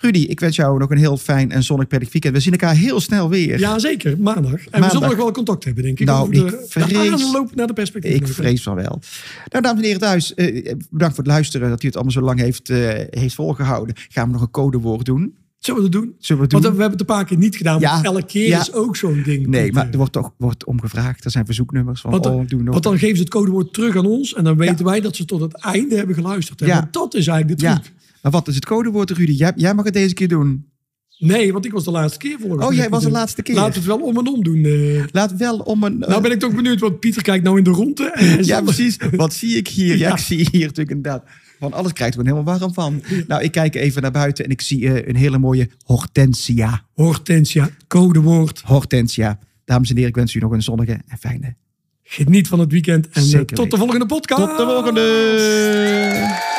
A: Rudy, ik wens jou nog een heel fijn en zonnig prettig weekend. We zien elkaar heel snel weer.
B: Jazeker, maandag. En we
A: Maandag.
B: zullen nog wel contact hebben, denk ik.
A: Nou,
B: over de,
A: ik vrees-
B: de aanloop naar de perspectief.
A: Ik vrees van wel. Nou, dames en heren thuis, eh, bedankt voor het luisteren. Dat u het allemaal zo lang heeft, eh, heeft volgehouden. Gaan we nog een codewoord doen?
B: Zullen we dat doen?
A: Zullen we het
B: Want
A: doen?
B: we hebben het een paar keer niet gedaan.
A: Ja,
B: maar elke keer
A: ja.
B: is ook zo'n ding.
A: Nee,
B: Pieter.
A: maar er wordt toch wordt omgevraagd. Er zijn verzoeknummers van,
B: Want dan,
A: oh, doe nog.
B: want dan geven ze het codewoord terug aan ons. En dan weten wij dat ze tot het einde hebben geluisterd.
A: Ja.
B: Ja. dat is eigenlijk de
A: ja.
B: truc.
A: Maar wat is het codewoord, Rudy? Jij, jij mag het deze keer doen.
B: Nee, want ik was de laatste keer volgens
A: Oh,
B: mij,
A: jij was de
B: Pieter.
A: laatste keer.
B: Laten we het wel om en om doen. eh.
A: Laat wel om een... eh,
B: Nou ben ik toch benieuwd, want Pieter kijkt nou in de ronde. En hij
A: ja,
B: zal-
A: precies. Wat zie ik hier? Ja,
B: Ja.
A: ik zie hier natuurlijk inderdaad. Van alles krijgt er gewoon helemaal warm van. Nou, ik kijk even naar buiten en ik zie eh, een hele mooie hortensia.
B: Hortensia, codewoord.
A: Hortensia. Dames en heren, ik wens u nog een zonnige en fijne
B: Geniet van het weekend. En eh,
A: Zeker
B: tot de
A: weten.
B: volgende podcast.
A: Tot de volgende!